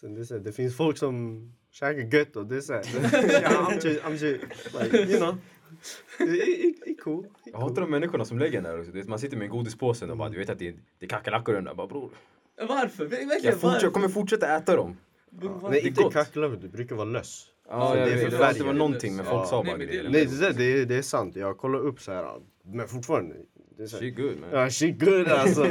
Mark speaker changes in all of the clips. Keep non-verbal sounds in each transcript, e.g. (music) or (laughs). Speaker 1: Sen det, är så här, det finns folk som käkar gött och det (laughs) är så här, yeah, I'm just, I'm just, like, you know. Det är- är är cool. Det är
Speaker 2: Jag hatar
Speaker 1: cool.
Speaker 2: de människorna som lägger den där också. Det är- Man sitter med en godispåse och bara du vet att det är, det är kackerlackor i den där. Bara bror.
Speaker 3: Varför? Verkligen
Speaker 2: Jag, fortsätter,
Speaker 3: varför?
Speaker 2: jag kommer fortsätta äta dem.
Speaker 3: Men varför?
Speaker 1: Nej,
Speaker 2: Det är
Speaker 1: inte
Speaker 2: gott.
Speaker 1: kackerlackor, det brukar vara löss.
Speaker 2: Ja, jag
Speaker 1: det är
Speaker 2: vet. Alltså, Det
Speaker 1: förfärligt.
Speaker 2: var- det var någonting men folk
Speaker 1: Ja.
Speaker 2: sa
Speaker 3: Nej,
Speaker 2: bara
Speaker 3: men det
Speaker 2: grejer.
Speaker 3: är-
Speaker 1: Nej, det, där, det, är- det är sant. Jag kollar upp så här, men fortfarande. Det är så här,
Speaker 2: Shit good man.
Speaker 1: ja, shit good alltså.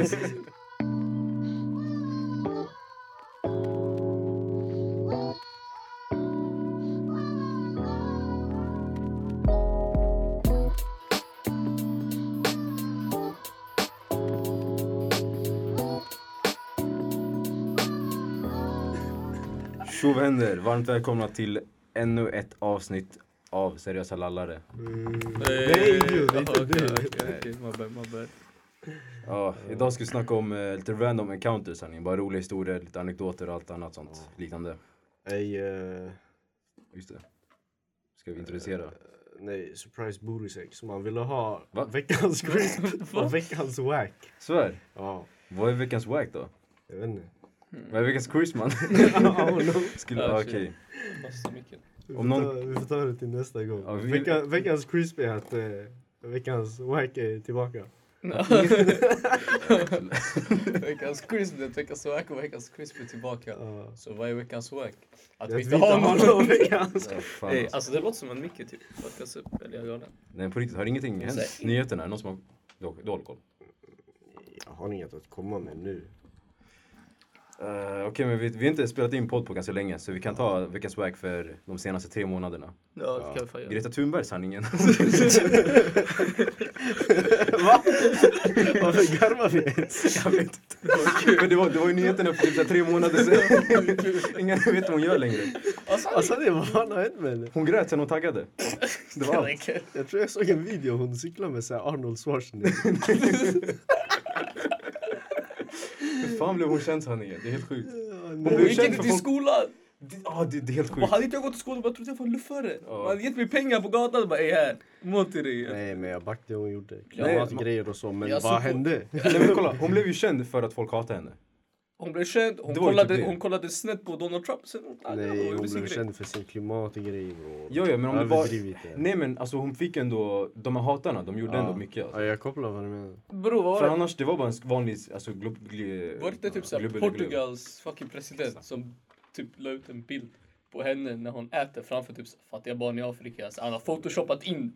Speaker 2: Tjo vänner, varmt välkomna till ännu ett avsnitt av Seriösa lallare.
Speaker 1: Nej, det är inte
Speaker 3: Eh, Okej,
Speaker 1: det.
Speaker 3: okej, Okej, my bad, my
Speaker 2: (laughs)
Speaker 3: bad.
Speaker 2: Ja, idag ska vi snacka om eh, lite random encounters hörni. Bara roliga historier, lite anekdoter och allt annat sånt liknande.
Speaker 1: Ey, eh,
Speaker 2: Just det. Eh, Ska vi introducera?
Speaker 1: nej, surprise booty sex. Man ville ha
Speaker 2: Va? (laughs)
Speaker 1: veckans crisp och veckans whack.
Speaker 2: Svär,
Speaker 1: Ja,
Speaker 2: vad är veckans wack då?
Speaker 1: jag vet inte.
Speaker 2: Vad är veckans cruise (laughs) man? Skulle,
Speaker 3: Ah,
Speaker 2: ah, (laughs)
Speaker 3: shit.
Speaker 2: okej.
Speaker 3: Massa mycket.
Speaker 1: Vi
Speaker 2: Om
Speaker 1: får,
Speaker 2: någon-
Speaker 1: ta, vi får ta det till nästa gång.
Speaker 2: Ja, vi-
Speaker 1: Vecka, veckans crisp är att eh, veckans wack är tillbaka.
Speaker 3: Veckans crisp, det är veckans wack och veckans crisp är tillbaka.
Speaker 1: Ja.
Speaker 3: Så vad är veckans wack? Att
Speaker 1: Det
Speaker 3: vi inte har någon.
Speaker 1: veckans...
Speaker 2: Ja, fan,
Speaker 3: Ey,
Speaker 2: alltså.
Speaker 3: alltså det låter som en Micke typ. Fuckas upp, eller jag gör den.
Speaker 2: Nej på riktigt, har ingenting hänt?
Speaker 3: Säkert.
Speaker 2: Nyheterna, är det någon som har dålig då, koll?
Speaker 1: Jag har inget att komma med nu.
Speaker 2: Eh, Okej men vi, vi har inte spelat in podd på ganska länge så vi kan ta veckans wack för de senaste tre månaderna.
Speaker 3: Ja, det kan jag fan göra.
Speaker 2: Greta Thunberg (laughs) sanningen.
Speaker 1: Varför garvar vi ens?
Speaker 2: Jag vet inte. Men det var, det var ju nyheterna för typ så här tre månader sedan. (laughs) Ingen vet vad hon gör längre.
Speaker 1: Alltså det, vad fan har hänt med henne?
Speaker 2: Hon grät sen hon taggade. Alltså, Det var allt.
Speaker 3: Okej.
Speaker 1: Jag tror jag såg en video hon cyklar med så här Arnold Schwarzenegger.
Speaker 2: Hur fan blev hon känd sanningen? Det är helt sjukt.
Speaker 3: Hon
Speaker 2: blev
Speaker 3: gick
Speaker 2: känd
Speaker 3: inte
Speaker 2: för
Speaker 3: till
Speaker 2: folk-
Speaker 3: skolan!
Speaker 2: Det- Ja, det, det är helt
Speaker 3: Och
Speaker 2: sjukt.
Speaker 3: hade inte jag gått till skolan bara trodde jag var luffare.
Speaker 2: Ja.
Speaker 3: Man hade gett mig pengar på gatan och bara ey här, må till dig.
Speaker 1: Nej men jag backade det hon gjorde.
Speaker 2: Nej, man-
Speaker 1: Klimatgrejer och så men
Speaker 3: Jag
Speaker 1: vad
Speaker 3: såg på-
Speaker 1: hände?
Speaker 2: Nej, men kolla, hon blev ju känd för att folk hatade henne.
Speaker 3: Hon blev känd, hon
Speaker 2: Det var ju
Speaker 3: kollade,
Speaker 2: typ det.
Speaker 3: hon kollade snett på Donald Trump sen hon taggade och
Speaker 1: Nej hon
Speaker 3: gjorde sin
Speaker 1: blev
Speaker 3: grej.
Speaker 1: känd för sin klimatgrej bror.
Speaker 2: Jo, jo, men om det var...
Speaker 1: Överdrivit det.
Speaker 2: Nej men alltså hon fick ändå, de här hatarna, de gjorde ändå mycket.
Speaker 1: Ja,
Speaker 2: Alltså.
Speaker 1: jag kopplar vad du menar.
Speaker 3: Bror vad var
Speaker 2: För
Speaker 3: det?
Speaker 2: annars, det var bara en vanlig, alltså glob... Gl...
Speaker 3: Var det inte typ såhär
Speaker 2: glubbel- glubbel.
Speaker 3: Portugals fucking president som typ la ut en bild på henne när hon äter framför typ så här fattiga barn i Afrika. Så han har photoshopat in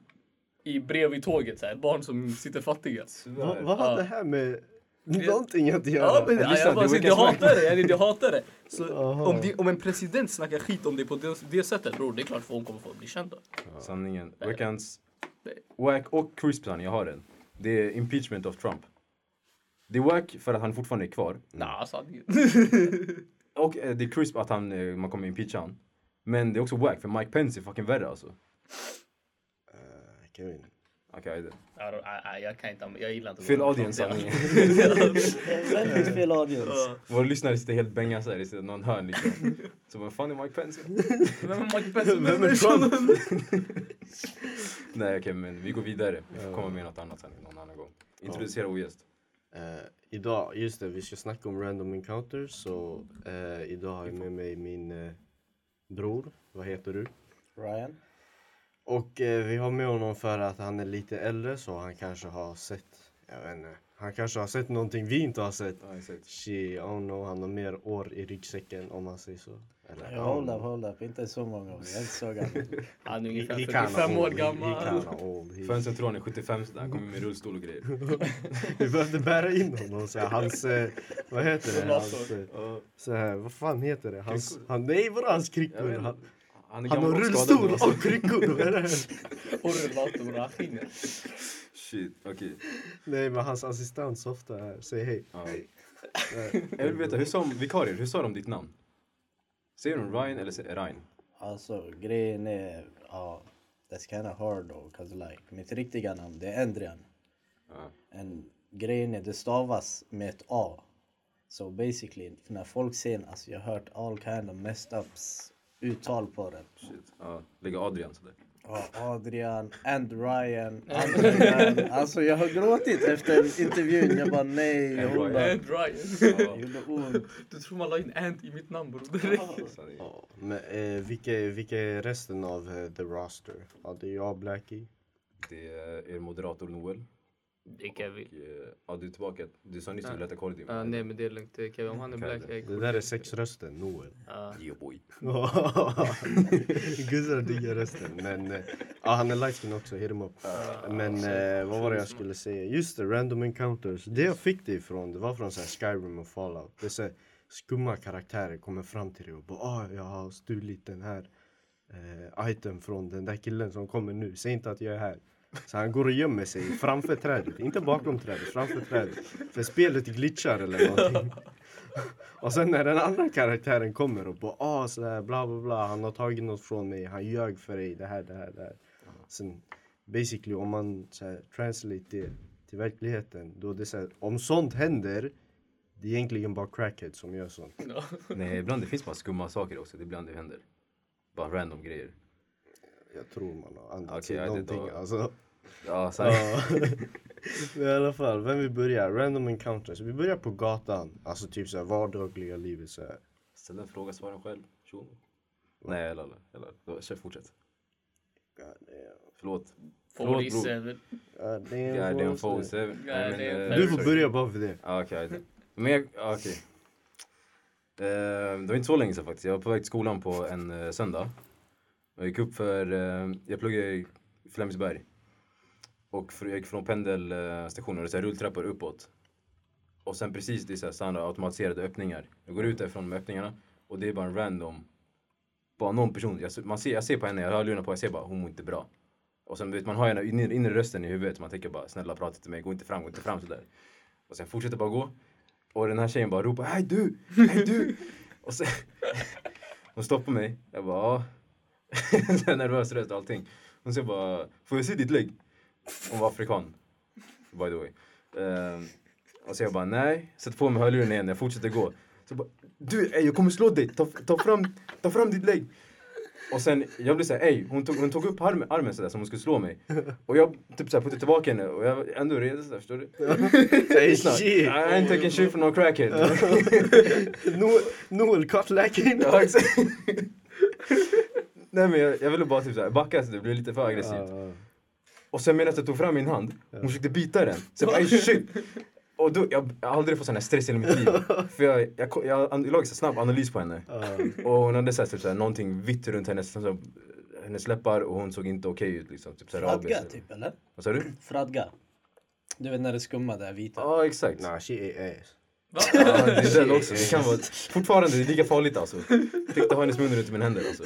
Speaker 3: i bredvid tåget såhär, barn som sitter fattiga.
Speaker 1: Va,
Speaker 2: Tyvärr.
Speaker 1: vad har
Speaker 3: Ja.
Speaker 1: det här med någonting att göra?
Speaker 3: Ja, men,
Speaker 2: lyssna,
Speaker 3: ja, jag
Speaker 2: det
Speaker 3: bara,
Speaker 2: var
Speaker 3: säger, jag
Speaker 2: kanske
Speaker 3: hatar det, eller jag hatar det. Så
Speaker 1: Aha.
Speaker 3: om, det- om en president snackar skit om dig på det, det sättet, bror, det är klart för hon kommer få bli känd då.
Speaker 2: Sanningen. Veckans...
Speaker 3: Nej.
Speaker 2: Wack och crisp sanning, jag har den. Det är impeachment of Trump. Det är wack för att han fortfarande är kvar.
Speaker 3: Nah, sanningen.
Speaker 2: Och eh, det är crisp att han, eh, man kommer impeacha han. Men det är också wack för Mike Pence är fucking värre alltså.
Speaker 1: Eh, Kevin.
Speaker 2: Okej, det.
Speaker 3: Ja, då, nej, nej, jag kan inte, jag gillar inte.
Speaker 2: Fel audience sanningen. (laughs)
Speaker 4: Väldigt fel audience.
Speaker 2: Våra lyssnare sitter helt bänga såhär i sitt- någon hörn liksom. Så vad fan är Mike Pence?
Speaker 3: Vem är Mike Pence?
Speaker 1: Vem är Trump? (laughs)
Speaker 2: Nej okej men vi går vidare. Vi får komma med något annat sen någon annan gång. Introducera vår gäst.
Speaker 1: Eh, idag, just det, vi ska snacka om random encounters. Så eh, idag har jag med mig min eh, bror. Vad heter du?
Speaker 4: Ryan.
Speaker 1: Och eh, vi har med honom för att han är lite äldre så han kanske har sett, jag vet inte, han kanske har sett någonting vi inte har sett.
Speaker 2: Ja, exakt.
Speaker 1: She, I don't know, han har mer år i ryggsäcken om man säger så. Eller, I don't
Speaker 4: Hold up,
Speaker 1: know.
Speaker 4: hold up. Inte så många år. Jag är inte så gammal.
Speaker 3: Han är
Speaker 1: He-
Speaker 3: ungefär
Speaker 1: he kinda
Speaker 3: 45 år
Speaker 1: old, he- He
Speaker 3: gammal.
Speaker 1: kinda old. He-
Speaker 2: Fansen tror han är 75 sådär, han kommer med rullstol och grejer.
Speaker 1: (laughs) Vi behövde bära in honom så här, hans, eh, vad heter det?
Speaker 3: Rollator.
Speaker 1: Hans, eh,
Speaker 2: Ja,
Speaker 1: så här, vad fan heter det? Hans,
Speaker 2: Kryckor.
Speaker 1: han, nej vadå hans
Speaker 2: jag
Speaker 1: kryckor?
Speaker 2: vet
Speaker 1: Han,
Speaker 2: inte. Han är
Speaker 1: han har
Speaker 2: gammal och skadad
Speaker 1: rullstol
Speaker 2: nu, alltså.
Speaker 1: och kryckor! vad är det här?
Speaker 3: Och rullator, bror, han skiner.
Speaker 2: Shit, okej.
Speaker 1: nej men hans assistent softar här, säg hej.
Speaker 2: Ja.
Speaker 1: Eh,
Speaker 2: Jag vill veta, hur sa vikarier, hur sa de ditt namn? Säger de Ryan eller säger Ryan?
Speaker 4: Alltså grejen är... Ja, that's kinda hard though. Cause like mitt riktiga namn det är Endrian.
Speaker 2: Ja.
Speaker 4: And grejen är det stavas med ett A. So basically när folk säger... Alltså jag har hört all kind of messed ups uttal på det.
Speaker 2: Shit. Ja, lägger Adrian sådär.
Speaker 4: Ja, Adrian and Ryan. Adrian. Alltså jag har gråtit efter intervjun. Jag bara nej.
Speaker 2: And
Speaker 4: Hon
Speaker 2: Ryan.
Speaker 4: bara,
Speaker 3: And Ryan.
Speaker 4: det gjorde ont.
Speaker 3: Eh, Du tror man la in and i mitt namn bror. Det räcker.
Speaker 1: Ja, men eh, vilka, vilka är resten av eh, the roster? Ja, det är jag, Blackie.
Speaker 2: Det är er moderator Noel.
Speaker 3: Det är Kevin.
Speaker 2: Och, eh, Ja, du är tillbaka. Du sa nyss att du ville äta korv.
Speaker 3: Ja, nej men det är lugnt. Det är Kevin, om han är
Speaker 2: Kevin.
Speaker 3: black, jag är
Speaker 1: Det där är sexrösten, Noel.
Speaker 3: Ja.
Speaker 2: Yo boy.
Speaker 1: Guzzar diggar rösten. Men eh, ja, han är lightskin också, hit him up. Men eh, vad var det jag skulle säga? Just det, random encounters. Det jag fick det ifrån, det var från så här Skyrim och Fallout. Det är så här, skumma karaktärer kommer fram till dig och bara ah, jag har stulit den här eh, item från den där killen som kommer nu. Säg inte att jag är här. Så han går och gömmer sig framför trädet, inte bakom trädet, framför trädet. För spelet glitchar eller någonting. Och sen när den andra karaktären kommer och bara ah, så här, bla bla bla, han har tagit något från mig, han ljög för dig, det här, det här, det här. Sen basically om man så här, translate det till verkligheten, då det är så här, om sånt händer, det är egentligen bara crackhead som gör sånt.
Speaker 3: Ja.
Speaker 2: Nej, ibland det finns bara skumma saker också. Det är ibland det händer. Bara random grejer.
Speaker 1: Jag tror man har andats okay,
Speaker 2: Okej, ja, det
Speaker 1: någonting
Speaker 2: då-
Speaker 1: alltså.
Speaker 2: Ja, sant.
Speaker 1: Ja. Men I alla fall, vem vi börjar? Random encounters. Vi börjar på gatan, alltså typ så här vardagliga livet så här.
Speaker 2: Ställ en fråga, svara den själv. Tjo. Nej, eller, eller, eller. Då, Kör, fortsätt.
Speaker 1: God damn.
Speaker 2: Förlåt. Förlåt, bror.
Speaker 3: Forty-seven.
Speaker 1: God damn,
Speaker 2: Ja, det är en
Speaker 1: boss, nej.
Speaker 2: foes. eh, nej, men,
Speaker 3: det är en
Speaker 2: eh,
Speaker 3: foes.
Speaker 1: Du får
Speaker 2: sorry.
Speaker 1: börja bara för det.
Speaker 2: Ja, Okej. Men jag, ja, okej. Eh, det var inte så länge sedan faktiskt. Jag var på väg till skolan på en eh, söndag. Jag gick upp för, eh, jag pluggar i Flemingsberg. Och för, jag gick från pendelstationen, och det är så här rulltrappor uppåt. Och sen precis, det är så här standard automatiserade öppningar. Jag går ut därifrån med öppningarna och det är bara en random, bara någon person. Jag, ser- man ser, jag ser på henne, jag har hörlurarna på, jag ser bara hon mår inte bra. Och sen vet man har den inre, inre rösten i huvudet, man tänker bara snälla prata till mig, gå inte fram, gå inte fram sådär. Och sen fortsätter bara gå. Och den här tjejen bara ropar hej du, hej du. och sen, (laughs) hon stoppar mig. Jag bara ja. (laughs) Så här nervös röst och allting. Hon säger bara, får jag se ditt lägg? Hon var afrikan. By the way. Ehm, och så jag bara nej. Sätter på mig hörlurarna igen, jag fortsätter gå. Så bara, du ey, jag kommer slå dig, ta, ta, fram, ta fram ditt lägg. Och sen, jag blev såhär, ey, hon tog, hon tog upp armen, armen sådär som hon skulle slå mig. Och jag typ såhär puttade tillbaka henne och jag var ändå redo sådär, förstår du?
Speaker 1: Hey,
Speaker 2: It's not.
Speaker 1: shit.
Speaker 2: I ain't taking shit from no crackhead.
Speaker 1: Noel, Noel kartläggning!
Speaker 2: (laughs) Ja, exakt. Nej men jag, jag ville bara typ såhär backa så det blev lite för aggressivt. Och sen medan jag tog fram min hand, hon försökte bita den. Så jag bara "Ey, shit! Och då, jag jag har aldrig fått sån här stress i hela mitt liv. För jag, jag, jag, jag, an- jag lagde så snabb analys på henne. (laughs) Och hon hade såhär, typ såhär, någonting vitt runt hennes, så- hennes läppar och hon såg inte okej ut liksom. Typ såhär,
Speaker 4: Fradga
Speaker 2: rabies.
Speaker 4: typ eller?
Speaker 2: Vad sa du?
Speaker 4: Fradga. Du vet när det skummar där vita.
Speaker 2: Ja exakt.
Speaker 1: Nah, she ate ass.
Speaker 3: Va?
Speaker 2: Ja, det är den också. Det kan vara... Fortfarande, det är lika farligt alltså. Jag tänkte ha hennes mun runt mina händer alltså.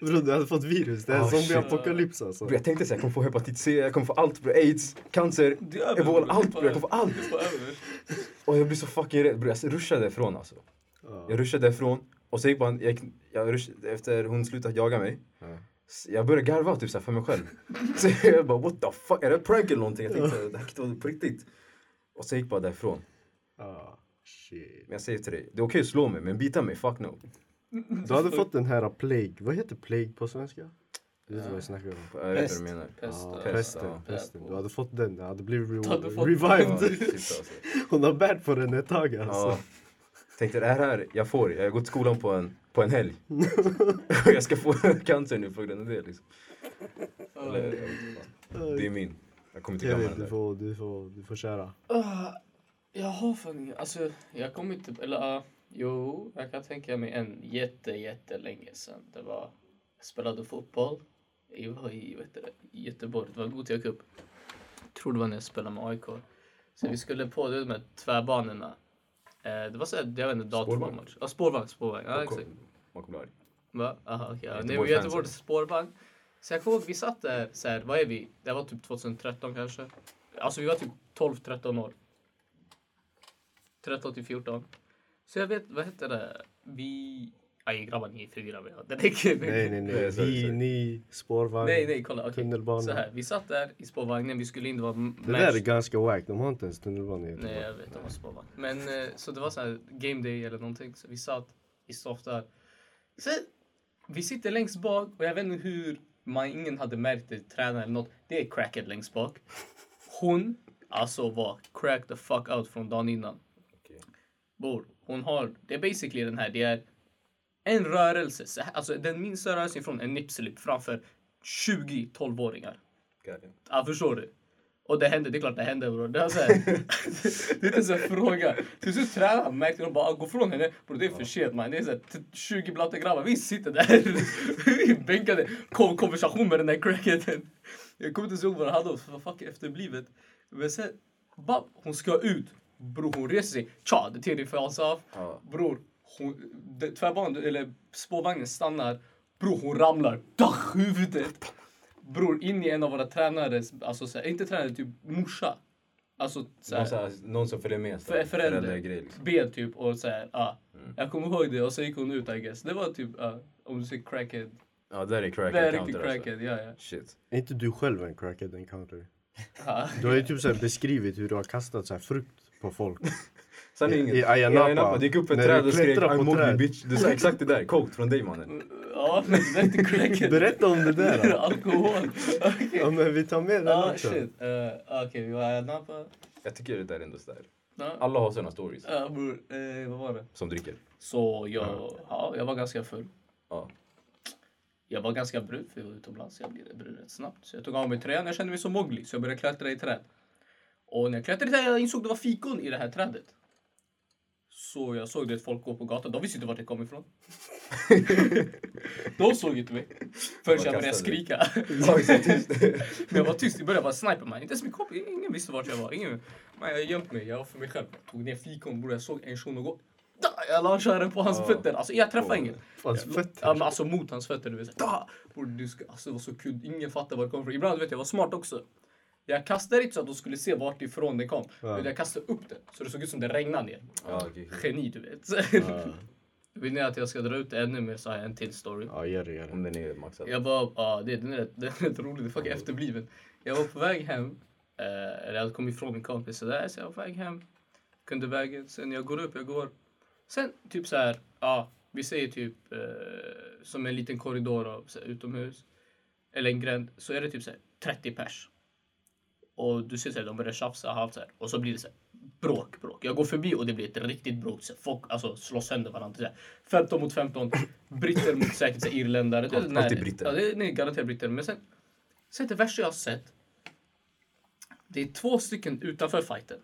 Speaker 1: Bro, du hade fått virus. Det är en
Speaker 2: Ah,
Speaker 1: zombieapokalyps alltså.
Speaker 2: Bro, jag tänkte såhär, jag kommer få hepatit C, jag kommer få allt bro, aids, cancer,
Speaker 3: Det är över,
Speaker 2: ebola,
Speaker 3: bror.
Speaker 2: allt bro, jag kommer få allt!
Speaker 3: Det är bara över.
Speaker 2: Och jag blev så fucking rädd bro, jag ruschade ifrån alltså. Jag ruschade ifrån och så gick man, jag, gick- jag ruschade, efter hon slutade jaga mig.
Speaker 1: Ja.
Speaker 2: Så Jag började garva typ såhär för mig själv. (laughs) Så jag bara what the fuck, är det en prank eller någonting? Jag tänkte det här kan inte vara på riktigt. Och så gick jag bara därifrån.
Speaker 1: Ah, shit.
Speaker 2: Men jag säger till dig, det är okej att slå mig men bita mig, fuck no.
Speaker 1: Du hade fått den här plague. Vad heter plague på svenska? Du vet vad jag snackar om.
Speaker 2: Jag vet
Speaker 4: Pest.
Speaker 2: vad du menar.
Speaker 3: Pest,
Speaker 1: Ah,
Speaker 3: ja.
Speaker 2: ja.
Speaker 1: pesten, pesten. Du hade fått den. Det hade blivit re-
Speaker 3: Du hade fått
Speaker 2: Ja,
Speaker 1: revived.
Speaker 2: shit, alltså.
Speaker 1: (laughs) Hon har bärt på den ett tag
Speaker 2: Ja.
Speaker 1: alltså.
Speaker 2: Tänkte det här är jag får, jag har gått skolan på en, på
Speaker 1: (laughs)
Speaker 2: en helg. Och jag ska få (laughs) cancer nu på grund av det liksom. Eller, jag vet inte fan. det är min. Jag kommer inte glömma
Speaker 1: Kevin,
Speaker 2: den
Speaker 1: du
Speaker 2: där.
Speaker 1: får, du, får, du får köra.
Speaker 3: Ah, Jag har fan ingen... Alltså, jag kommer inte... Eller ah, jo, jag kan tänka mig en jätte, jättelänge sedan. Det var... Jag spelade fotboll. Jag var i vet du, i Göteborg. Det var Gothia Cup. Tror det var när jag spelade med AIK. Så vi skulle på det med tvärbanorna. Eh, det var så här, jag vet inte,
Speaker 2: Spårvagn?
Speaker 3: datormatch. Ja, spårvagn, spårvagn. Ja, exakt.
Speaker 2: Man kommer bli arg.
Speaker 3: Va? Aha, okay. ja. Nej, men
Speaker 2: Göteborg
Speaker 3: Göteborgs
Speaker 2: fans,
Speaker 3: spårvagn. Så jag kommer ihåg, vi satt där, så här, vad är vi? Det var typ 2013 kanske. Alltså vi var typ 12-13 år. 13 till 14. Så jag vet, vad heter det? Vi... Aj grabbar, ni är förvirrade. mig. (laughs) Det räcker.
Speaker 1: Nej, nej, nej.
Speaker 2: Nej, sorry,
Speaker 1: Vi,
Speaker 2: sorry.
Speaker 1: ni, spårvagn,
Speaker 3: nej, nej, kolla. okej.
Speaker 1: tunnelbana.
Speaker 3: Så här, vi satt där i spårvagnen, vi skulle inte vara
Speaker 1: Det där är ganska wack. De har inte ens tunnelbana i
Speaker 3: Nej,
Speaker 1: Göteborg.
Speaker 3: jag vet. De var spårvagn. Men eh, så det var så här game day eller någonting. Så vi satt i softar. Sen, vi sitter längst bak och jag vet inte hur man, ingen hade märkt det, tränaren eller något. Det är cracked längst bak. Hon alltså var cracked the fuck out från dagen innan.
Speaker 2: Okej.
Speaker 3: Bror, hon har, det är basically den här, det är en rörelse, så här, alltså den minsta rörelsen från en nipslip framför 20 12-åringar.
Speaker 2: Goddamn.
Speaker 3: Ja, förstår du? Och det hände, det är klart det hände bror. Det, är så här, (laughs) det är inte ens en fråga. Till slut tränaren märkte de bara, "Ah, gå från henne. Bror det är för sent man. Det är så här, t- 20 blatta grabbar, vi sitter där. (laughs) vi är bänkade. Kom, konversation med den där cracketen. Jag kommer inte ens ihåg vad han hade för fuck efterblivet. Men sen, bam, hon ska ut. Bror hon reser sig. Tja, det är din fas av.
Speaker 2: Ja.
Speaker 3: Bror, hon, det- tvärbanan, eller spårvagnen stannar. Bror hon ramlar. Dach, huvudet bror in i en av våra tränares, alltså så här, inte tränare, typ morsa. Alltså så
Speaker 2: Någon, så
Speaker 3: här,
Speaker 2: här, någon som följer med. så här,
Speaker 3: för, förälder.
Speaker 2: föräldragrej, liksom.
Speaker 3: Ben typ och så här, ah. Jag kommer ihåg det och så gick hon ut I guess. Det var typ, ah, om du säger crackhead.
Speaker 2: Ja, där är
Speaker 3: Det
Speaker 2: crackhead
Speaker 3: är riktigt
Speaker 2: counter alltså.
Speaker 3: crackhead, ja ja.
Speaker 2: Shit.
Speaker 1: Är inte du själv en crackhead encounter?
Speaker 3: Ah.
Speaker 1: Du har ju typ så här beskrivit hur du har kastat så här frukt på folk.
Speaker 2: Sen
Speaker 1: I-
Speaker 2: inget.
Speaker 1: i Ayia Napa,
Speaker 2: Det gick upp
Speaker 1: när
Speaker 2: ett
Speaker 1: du
Speaker 2: träd och skrek
Speaker 1: klättrar på
Speaker 2: I'm
Speaker 1: träd."
Speaker 2: bitch. Du sa exakt det där. Coke från dig
Speaker 3: Mm.
Speaker 2: mannen.
Speaker 3: (laughs) Ja, men det är inte crackhead.
Speaker 1: Berätta om
Speaker 3: (laughs)
Speaker 1: det där. då.
Speaker 3: Alkohol. Okej.
Speaker 1: Ja men vi tar med den
Speaker 3: Ah,
Speaker 1: också.
Speaker 3: shit. Eh, Okej, vi har Napa.
Speaker 2: Jag tycker det där är ändå sådär.
Speaker 3: Ja,
Speaker 2: Alla har sina stories
Speaker 3: ah, bror. Eh, vad var det?
Speaker 2: som
Speaker 3: (laughs)
Speaker 2: dricker.
Speaker 3: Så jag, ja, jag var ganska full.
Speaker 2: Ja.
Speaker 3: Jag var ganska brun för jag var utomlands. Jag blev brun rätt snabbt. Så jag tog av mig tröjan. Jag kände mig som Mowgli så jag började klättra i träd. Och när jag klättrade i träd jag insåg det var fikon i det här trädet. Så jag såg det att folk går på gatan. De visste inte vart jag
Speaker 2: (laughs)
Speaker 3: kom ifrån. De såg inte mig. Förrän jag började
Speaker 2: kastade dig.
Speaker 3: skrika.
Speaker 2: Ja, exakt, just det.
Speaker 3: Men jag var tyst i början. Jag var sniper man. Inte ens min kompis. Ingen visste vart jag var. Ingen. Man, jag gömt mig. Jag var för mig själv. Jag tog ner fikon. bror. Jag såg en shuno gå. Da! Jag la kören på hans
Speaker 2: Ja.
Speaker 3: fötter. Alltså jag träffade
Speaker 2: Ja.
Speaker 3: ingen.
Speaker 1: Hans fötter.
Speaker 3: Ja, men alltså mot hans fötter. Du vet, så här, "Da!" Bror, du ska, alltså, det var så kul. Ingen fattade var det kom ifrån. Ibland vet jag, jag var smart också. Jag kastade inte så att de skulle se vart ifrån det kom.
Speaker 1: Ja.
Speaker 3: Men jag kastade upp det så det såg ut som det regnade ner.
Speaker 2: Ja, okej.
Speaker 3: Geni, du vet. (laughs)
Speaker 1: Ja.
Speaker 3: Vill ni att jag ska dra ut det ännu mer så har jag en till story.
Speaker 1: Ja gör det, gör det.
Speaker 2: Om den är maxad.
Speaker 3: Jag var, ja det, den är rätt, (laughs) den är rätt rolig, det är fucking efterbliven. Jag var på väg hem, eh, eller jag hade kommit ifrån min kompis sådär, så jag var på väg hem. Kunde vägen, sen jag går upp, jag går. Sen typ så här, ja vi säger typ eh, som en liten korridor av, så här, utomhus. Eller en gränd, så är det typ så här 30 pers. Och du ser såhär, de börjar tjafsa och allt så här. Och så blir det såhär bråk, bråk. Jag går förbi och det blir ett riktigt bråk. Så här, folk alltså, slår sönder varandra. Så här, 15 mot 15. Britter mot säkert så här, irländare. Det är
Speaker 2: Alltid
Speaker 3: när-
Speaker 2: britter.
Speaker 3: Ja, det är, nej, garanterat britter. Men sen, sen det värsta jag har sett. Det är två stycken utanför fighten.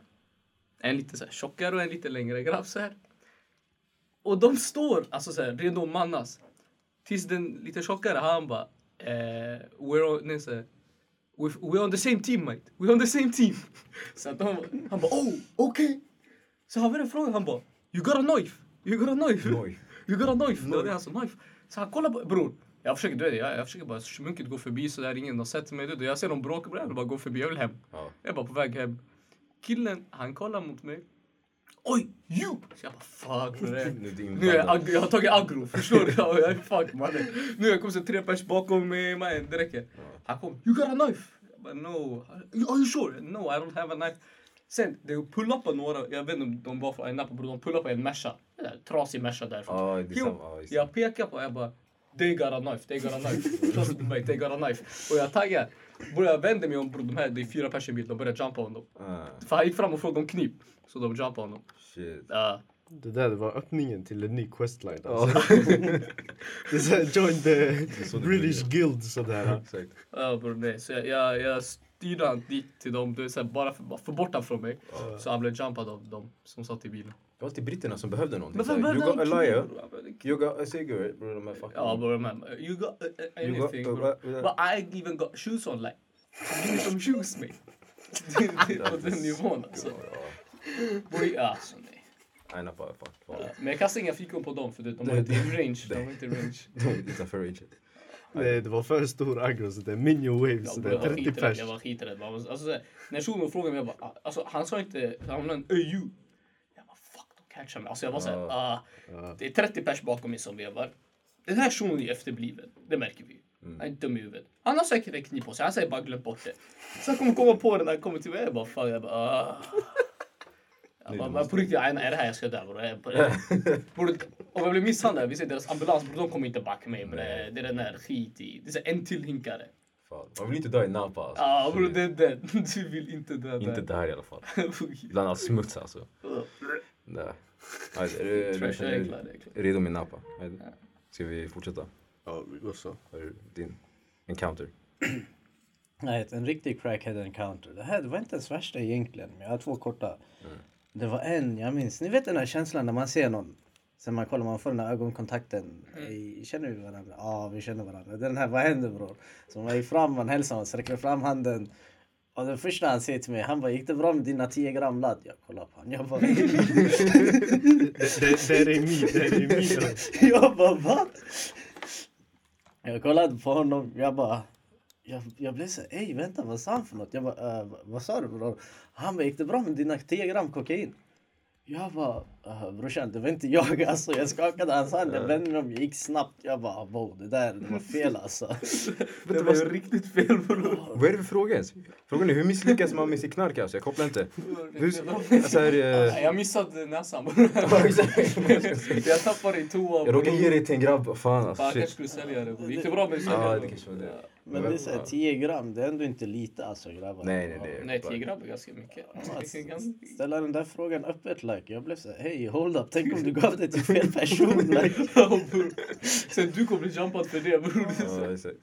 Speaker 3: En lite så här tjockare och en lite längre grabb så här. Och de står alltså så här, redo att mannas. Tills den lite tjockare han bara... Eh, we're on, nej, så här, We're, we're on the same team mate. We're on the same team. (laughs) Så att de, han bara oh, okej. Så han började fråga, han bara you got a knife? You got a knife?
Speaker 2: Knife.
Speaker 3: (laughs) You got a knife? Det var det han sa, knife. Så han kollar på, bror. Jag försöker, du vet, jag, jag försöker bara smunkigt gå förbi så där ingen har sett mig. Du, vet. jag ser dem bråka, bror, jag vill bara gå förbi, jag vill hem.
Speaker 2: Ja.
Speaker 3: Jag är bara på väg hem. Killen, han kollar mot mig. Oj, you! Så jag bara fuck det.
Speaker 2: Nu är det
Speaker 3: Nu är jag,
Speaker 2: inblandad.
Speaker 3: ag- jag har tagit aggro, förstår du? (laughs) Jag jag är fuck mannen. Nu har jag kommit så tre pers bakom mig, mannen. Det räcker. Han kom, you got a knife? Jag bara no. Are you sure? No, I don't have a knife. Sen, de pull-upade några, jag vet inte om de var från en app, de pull-upade en Merca. En där Trasig Merca därifrån.
Speaker 2: Ja, det är
Speaker 3: Jo,
Speaker 2: samma- ja, just det.
Speaker 3: jag pekar på jag bara They got a knife, they got a
Speaker 2: (laughs)
Speaker 3: knife. Slåss mot mig, they got a knife. Och jag taggar. Bror jag vänder mig om, bror de här, det är fyra pers i en bil, de börjar jumpa honom.
Speaker 2: Ah,
Speaker 3: För han gick fram och frågade om kniv. Så de jumpade honom.
Speaker 2: shit.
Speaker 3: Ja.
Speaker 1: Det där var öppningen till en ny questline
Speaker 2: (laughs)
Speaker 1: alltså. det är såhär join the
Speaker 2: så det
Speaker 1: eh, British Guild sådär.
Speaker 2: Exakt.
Speaker 3: Ja bror nej. Så jag, jag, jag styrde han dit till dem, du vet, så här, bara för, bara få bort han från mig. Så han blev jumpad av dem som satt i bilen.
Speaker 2: Det var alltid britterna som behövde någonting.
Speaker 3: Men
Speaker 2: Så
Speaker 3: vem
Speaker 2: här,
Speaker 3: behövde
Speaker 2: you got
Speaker 3: han
Speaker 2: a liar,
Speaker 3: kniv? bror? Han behövde en kniv.
Speaker 2: you got a cigarette, bro. De här fucking...
Speaker 3: Ja bror de här, you got uh, uh,
Speaker 2: Mm. You got-
Speaker 3: anything
Speaker 2: uh,
Speaker 3: bro.
Speaker 2: uh, uh,
Speaker 3: But I even got shoes on like. Give me some shoes
Speaker 2: (laughs)
Speaker 3: mate. Det är På den nivån alltså. Boy, alltså nej.
Speaker 2: Nej, nappa, fuck.
Speaker 3: Ja,
Speaker 2: fuck.
Speaker 3: Men jag kastade inga fikon på dem för du vet, de var
Speaker 2: Nej,
Speaker 3: inte i range. De var inte i range.
Speaker 2: De är utanför
Speaker 3: (laughs)
Speaker 2: range.
Speaker 1: Nej det var för stor aggro så det är minion waves
Speaker 3: Ja,
Speaker 1: så
Speaker 3: bror,
Speaker 1: det
Speaker 3: jag
Speaker 1: är
Speaker 3: var
Speaker 1: 30
Speaker 3: skiträdd.
Speaker 1: pers.
Speaker 3: Jag var skiträdd. Man var- Alltså, så här, när shunon frågade mig, jag bara, ah, alltså, han sa inte, han var en öju. Jag bara fuck, de catchar mig. Alltså jag var såhär,
Speaker 2: Ja.
Speaker 3: ah, det är 30 pers bakom mig som vevar. Den här shunon är efterbliven, det märker vi. Han är dum i huvudet. Han har säkert en kniv på sig, han säger bara glöm bort det. Sen kommer komma på det när han kommer till mig, jag bara fan, jag bara ah. Jag bara, men på riktigt, nej, nej, är det här jag ska dö bror? Jag bara-
Speaker 2: (laughs)
Speaker 3: bror, Om jag blir misshandlad, vi säger deras ambulans, bror, de kommer inte backa mig bre. Det är den där skit i. Det är så här, en till hinkare.
Speaker 2: Fan. Man vill inte dö i Napa alltså.
Speaker 3: Ja ah, bror, det är den. (laughs) Du vill inte dö
Speaker 2: Inte
Speaker 3: där.
Speaker 2: där i alla fall.
Speaker 3: (laughs)
Speaker 2: Bland all smuts alltså. Nej. Alltså, är du, är
Speaker 3: Trash,
Speaker 2: du,
Speaker 3: jag är
Speaker 2: är
Speaker 3: klar, jag är klar.
Speaker 2: du redo med Napa? Är du- Ska vi fortsätta?
Speaker 1: Ja, vi går så.
Speaker 2: Har du din encounter?
Speaker 4: Nej, en riktig crackhead encounter. Det här det var inte ens värsta egentligen, men jag har två korta. Det var en, jag minns, ni vet den här känslan när man ser någon. Sen man kollar, man får den här ögonkontakten. Ej, Känner vi varandra? Ja, vi känner varandra. Den här, vad händer bror? Så man gick fram, man hälsade, man sträcker fram handen. Och den första han säger till mig, han bara, gick det bra med dina 10 gram ladd? Jag kollar på honom, jag bara,
Speaker 1: Det, det, det är i min, det är i min dröm.
Speaker 4: (laughs) jag bara va? Jag kollade på honom, jag bara jag, jag blev så ej vänta vad sa han för något? Jag bara, "Eh, vad sa du bror? Han bara, gick det bra med dina 10 gram kokain? Jag bara, "Eh, brorsan det var inte jag alltså. Jag skakade hans hand, jag vände mig om, jag gick snabbt. Jag bara, wow det där det var fel alltså.
Speaker 3: Det var riktigt fel (laughs) bror.
Speaker 2: Vad är det för fråga ens? Frågan är hur misslyckas man med sin knark alltså? Jag kopplar inte.
Speaker 3: (laughs)
Speaker 2: Hur, alltså, här, eh,
Speaker 3: Jag missade
Speaker 2: (laughs)
Speaker 3: näsan bror. Jag tappade i toa.
Speaker 2: jag råkade
Speaker 3: bror.
Speaker 2: ge dig till en grabb. Fan
Speaker 3: Fan, jag
Speaker 2: alltså
Speaker 3: kanske
Speaker 2: shit.
Speaker 3: skulle sälja det. bror. Gick det bra
Speaker 2: Ja,
Speaker 3: med
Speaker 2: det
Speaker 3: säljaren?
Speaker 2: kanske var det.
Speaker 4: Men det är så här, 10 gram det är ändå inte lite alltså grabbar.
Speaker 2: Nej, nej, nej.
Speaker 3: Nej, tio grabbar är (laughs) ganska mycket.
Speaker 2: alltså,
Speaker 3: Det är ganska-
Speaker 4: Ställa den där frågan öppet like. Jag blev så här, hej hold up, tänk om du gav det till fel person like.
Speaker 3: Ja, bror. Sen du kommer bli jumpad för det bror. Det är (laughs) så
Speaker 2: Ja,
Speaker 3: här,
Speaker 2: exakt.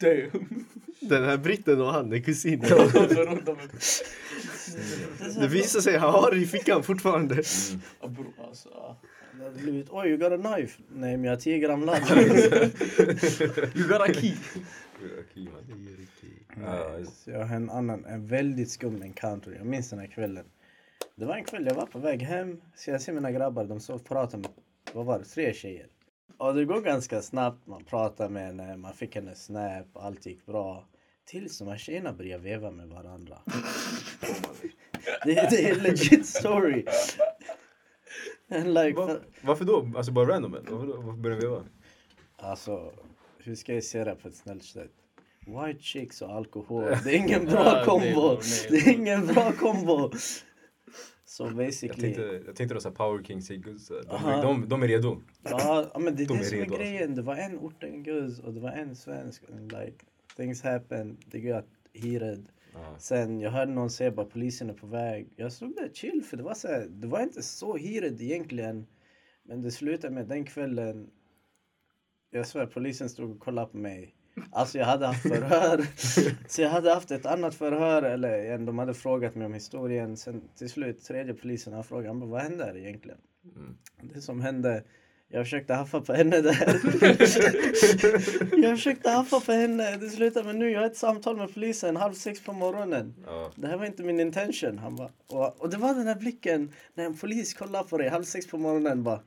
Speaker 3: Damn.
Speaker 1: Den här britten och han, den kusinen.
Speaker 3: (laughs) De är runt om mig.
Speaker 1: Det visar sig, han har det i fickan fortfarande.
Speaker 3: Ja, Bror alltså. ja.
Speaker 4: Det hade blivit oj, you got a knife. Nej, men jag har 10 gram ladd.
Speaker 3: You got a (laughs) key.
Speaker 2: Ja, just-
Speaker 4: Så jag har en annan, en väldigt skum encounter. Jag minns den här kvällen. Det var en kväll, jag var på väg hem. Så jag ser mina grabbar, de sov och pratade med, vad var det, tre tjejer. Och det går ganska snabbt, man pratar med henne, man fick hennes snap, allt gick bra. Tills de här tjejerna började veva med varandra. det, det är en legit story. And like,
Speaker 2: Va- Varför då? Alltså bara random? eller? Varför, då? Varför börjar vi veva?
Speaker 4: Alltså, hur ska jag säga det på ett snällt sätt? White chicks och alkohol, det är ingen bra
Speaker 3: Ja, det är
Speaker 4: kombo.
Speaker 3: bra, nej,
Speaker 4: (laughs) Det
Speaker 3: bra.
Speaker 4: är ingen bra kombo. Så
Speaker 2: Jag
Speaker 4: basically,
Speaker 2: tänkte, jag tänkte då såhär Power King Sigurds. De,
Speaker 4: Aha.
Speaker 2: de, de, de är redo.
Speaker 4: ja ja, men det är
Speaker 2: de
Speaker 4: det
Speaker 2: är
Speaker 4: som är
Speaker 2: redo,
Speaker 4: grejen. Det var en ortenguz och det var en svensk. And like, things happen, det går att heated.
Speaker 2: Ja.
Speaker 4: Sen jag hörde någon säga bara polisen är på väg. Jag såg det chill för det var så här, det var inte så heated egentligen. Men det slutade med den kvällen. Jag svär polisen stod och kollade på mig. Alltså jag hade haft förhör. så jag hade haft ett annat förhör eller en, de hade frågat mig om historien. Sen till slut tredje polisen han frågade han bara, vad hände här egentligen? Det som hände jag försökte haffa på henne där. jag försökte haffa på henne. Det slutade med nu. Jag har ett samtal med polisen halv sex på morgonen.
Speaker 2: Ja.
Speaker 4: Det här var inte min intention. Han bara, och, och det var den här blicken när en polis kollar på dig halv sex på morgonen. Bara,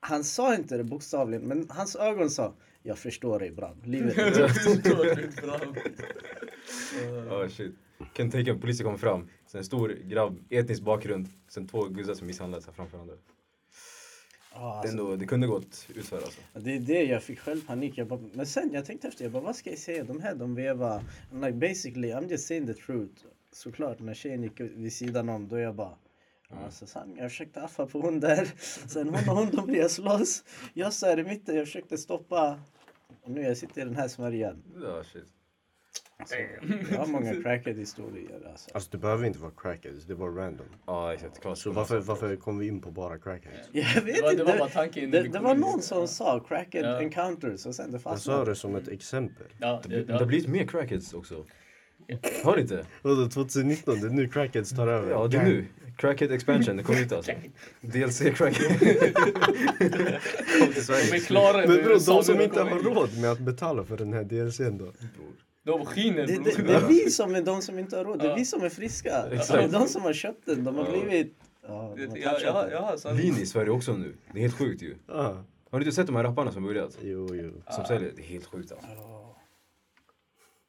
Speaker 4: han sa inte det bokstavligen, men hans ögon sa jag förstår dig Bram.
Speaker 3: (laughs)
Speaker 4: Livet är
Speaker 3: Det står inte bra.
Speaker 2: Ja, shit. Kan tänka mig, polisen kom fram. Sen en stor grabb, etnisk bakgrund. Sen två guzzar som misshandlades här framför varandra.
Speaker 4: Ja,
Speaker 2: Det, är
Speaker 4: alltså,
Speaker 2: ändå, det kunde gått utför alltså.
Speaker 4: det är det jag fick själv panik. Jag bara, men sen jag tänkte efter, jag bara, vad ska jag säga? De här de vevar. I'm like, basically, I'm just saying the truth. Såklart, när tjejen gick vid sidan om, då jag bara Alltså, sanning, jag försökte affa på hon där. (laughs) Sen hon och hon de började slåss. Jag stod här i mitten, jag försökte stoppa. Och nu jag sitter i den här smörjan.
Speaker 2: Ja, shit.
Speaker 4: Så, jag har många crackhead historier alltså.
Speaker 1: Alltså det behöver inte vara crackheads, det var random.
Speaker 2: Ja, exakt. Klart.
Speaker 1: Så varför, varför kom vi in på bara crackheads?
Speaker 4: (laughs) Jag vet
Speaker 3: Det var- det
Speaker 4: inte.
Speaker 3: var bara tanken innan
Speaker 4: det,
Speaker 3: vi
Speaker 4: det
Speaker 3: kom
Speaker 4: var
Speaker 3: in.
Speaker 4: någon som sa crackhead
Speaker 3: Ja.
Speaker 4: encounters och sen det
Speaker 1: Jag
Speaker 3: Alltså-
Speaker 1: sa
Speaker 4: fastnade.
Speaker 1: det som ett exempel.
Speaker 3: Ja,
Speaker 2: Det,
Speaker 3: det-
Speaker 2: det har
Speaker 3: det-
Speaker 2: blivit mer crackheads också. Har det inte?
Speaker 1: Vadå 2019, det är nu crackheads tar över.
Speaker 2: Ja, det är nu. Crackhead expansion, det kom ut alltså. DLC
Speaker 3: (laughs)
Speaker 2: crackhead. kom till
Speaker 3: de är
Speaker 2: Sverige.
Speaker 3: klara
Speaker 1: Men
Speaker 3: med
Speaker 1: bror,
Speaker 3: USA
Speaker 1: de som
Speaker 3: när
Speaker 1: inte
Speaker 3: kommer
Speaker 1: har
Speaker 3: in.
Speaker 1: råd med att betala för den här DLCn då?
Speaker 3: De skiner
Speaker 4: Det,
Speaker 3: bror. (laughs)
Speaker 4: det, det är vi som är de som inte har råd. Det är
Speaker 3: Mm. Ja.
Speaker 4: vi som är friska.
Speaker 2: Exakt.
Speaker 4: Det är de som har köpt den. De har
Speaker 2: Ja.
Speaker 4: blivit... Ja, de har
Speaker 3: Det- Jag, jag, jag
Speaker 4: touchat
Speaker 3: har sanning.
Speaker 2: Lean i Sverige också nu. Det är helt sjukt ju.
Speaker 1: Ah,
Speaker 2: Har du inte sett de här rapparna som börjat?
Speaker 1: jo, jo.
Speaker 2: Som säljer? Det är helt sjukt alltså.
Speaker 4: den. Ja.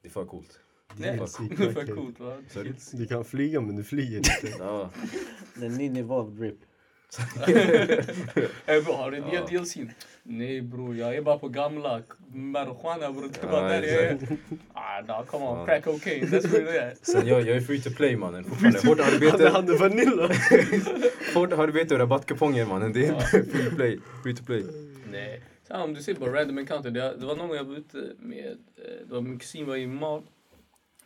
Speaker 2: Det är för coolt.
Speaker 3: Nej,
Speaker 4: (laughs)
Speaker 1: DLC
Speaker 3: (laughs) det är för
Speaker 1: crackhead.
Speaker 3: coolt va?
Speaker 2: Sorry.
Speaker 3: (laughs)
Speaker 1: Du kan flyga men du flyger inte.
Speaker 2: Ja.
Speaker 4: Det är en ny nivå av drip.
Speaker 3: Ey bror, har du nya
Speaker 4: Ah.
Speaker 2: Ja.
Speaker 3: DLCn? Nej bror, jag är bara på gamla marijuana bror. Det är bara
Speaker 2: Ja,
Speaker 3: där jag är. Ah, nah, come on,
Speaker 2: Ja.
Speaker 3: crack cocaine. That's what it is.
Speaker 2: Sen jag, jag är free to play
Speaker 3: (laughs)
Speaker 2: mannen. Fortfarande. Hårt
Speaker 1: Han är
Speaker 2: arbete,
Speaker 1: han är Vanilla.
Speaker 2: hårt arbete och rabattkuponger mannen. Det är
Speaker 3: Ja.
Speaker 2: (laughs) free to play. Free to play.
Speaker 3: Nej. Så här, om du ser på random encounter. Det, det var någon gång jag var ute med, eh, det var min kusin var i Mal.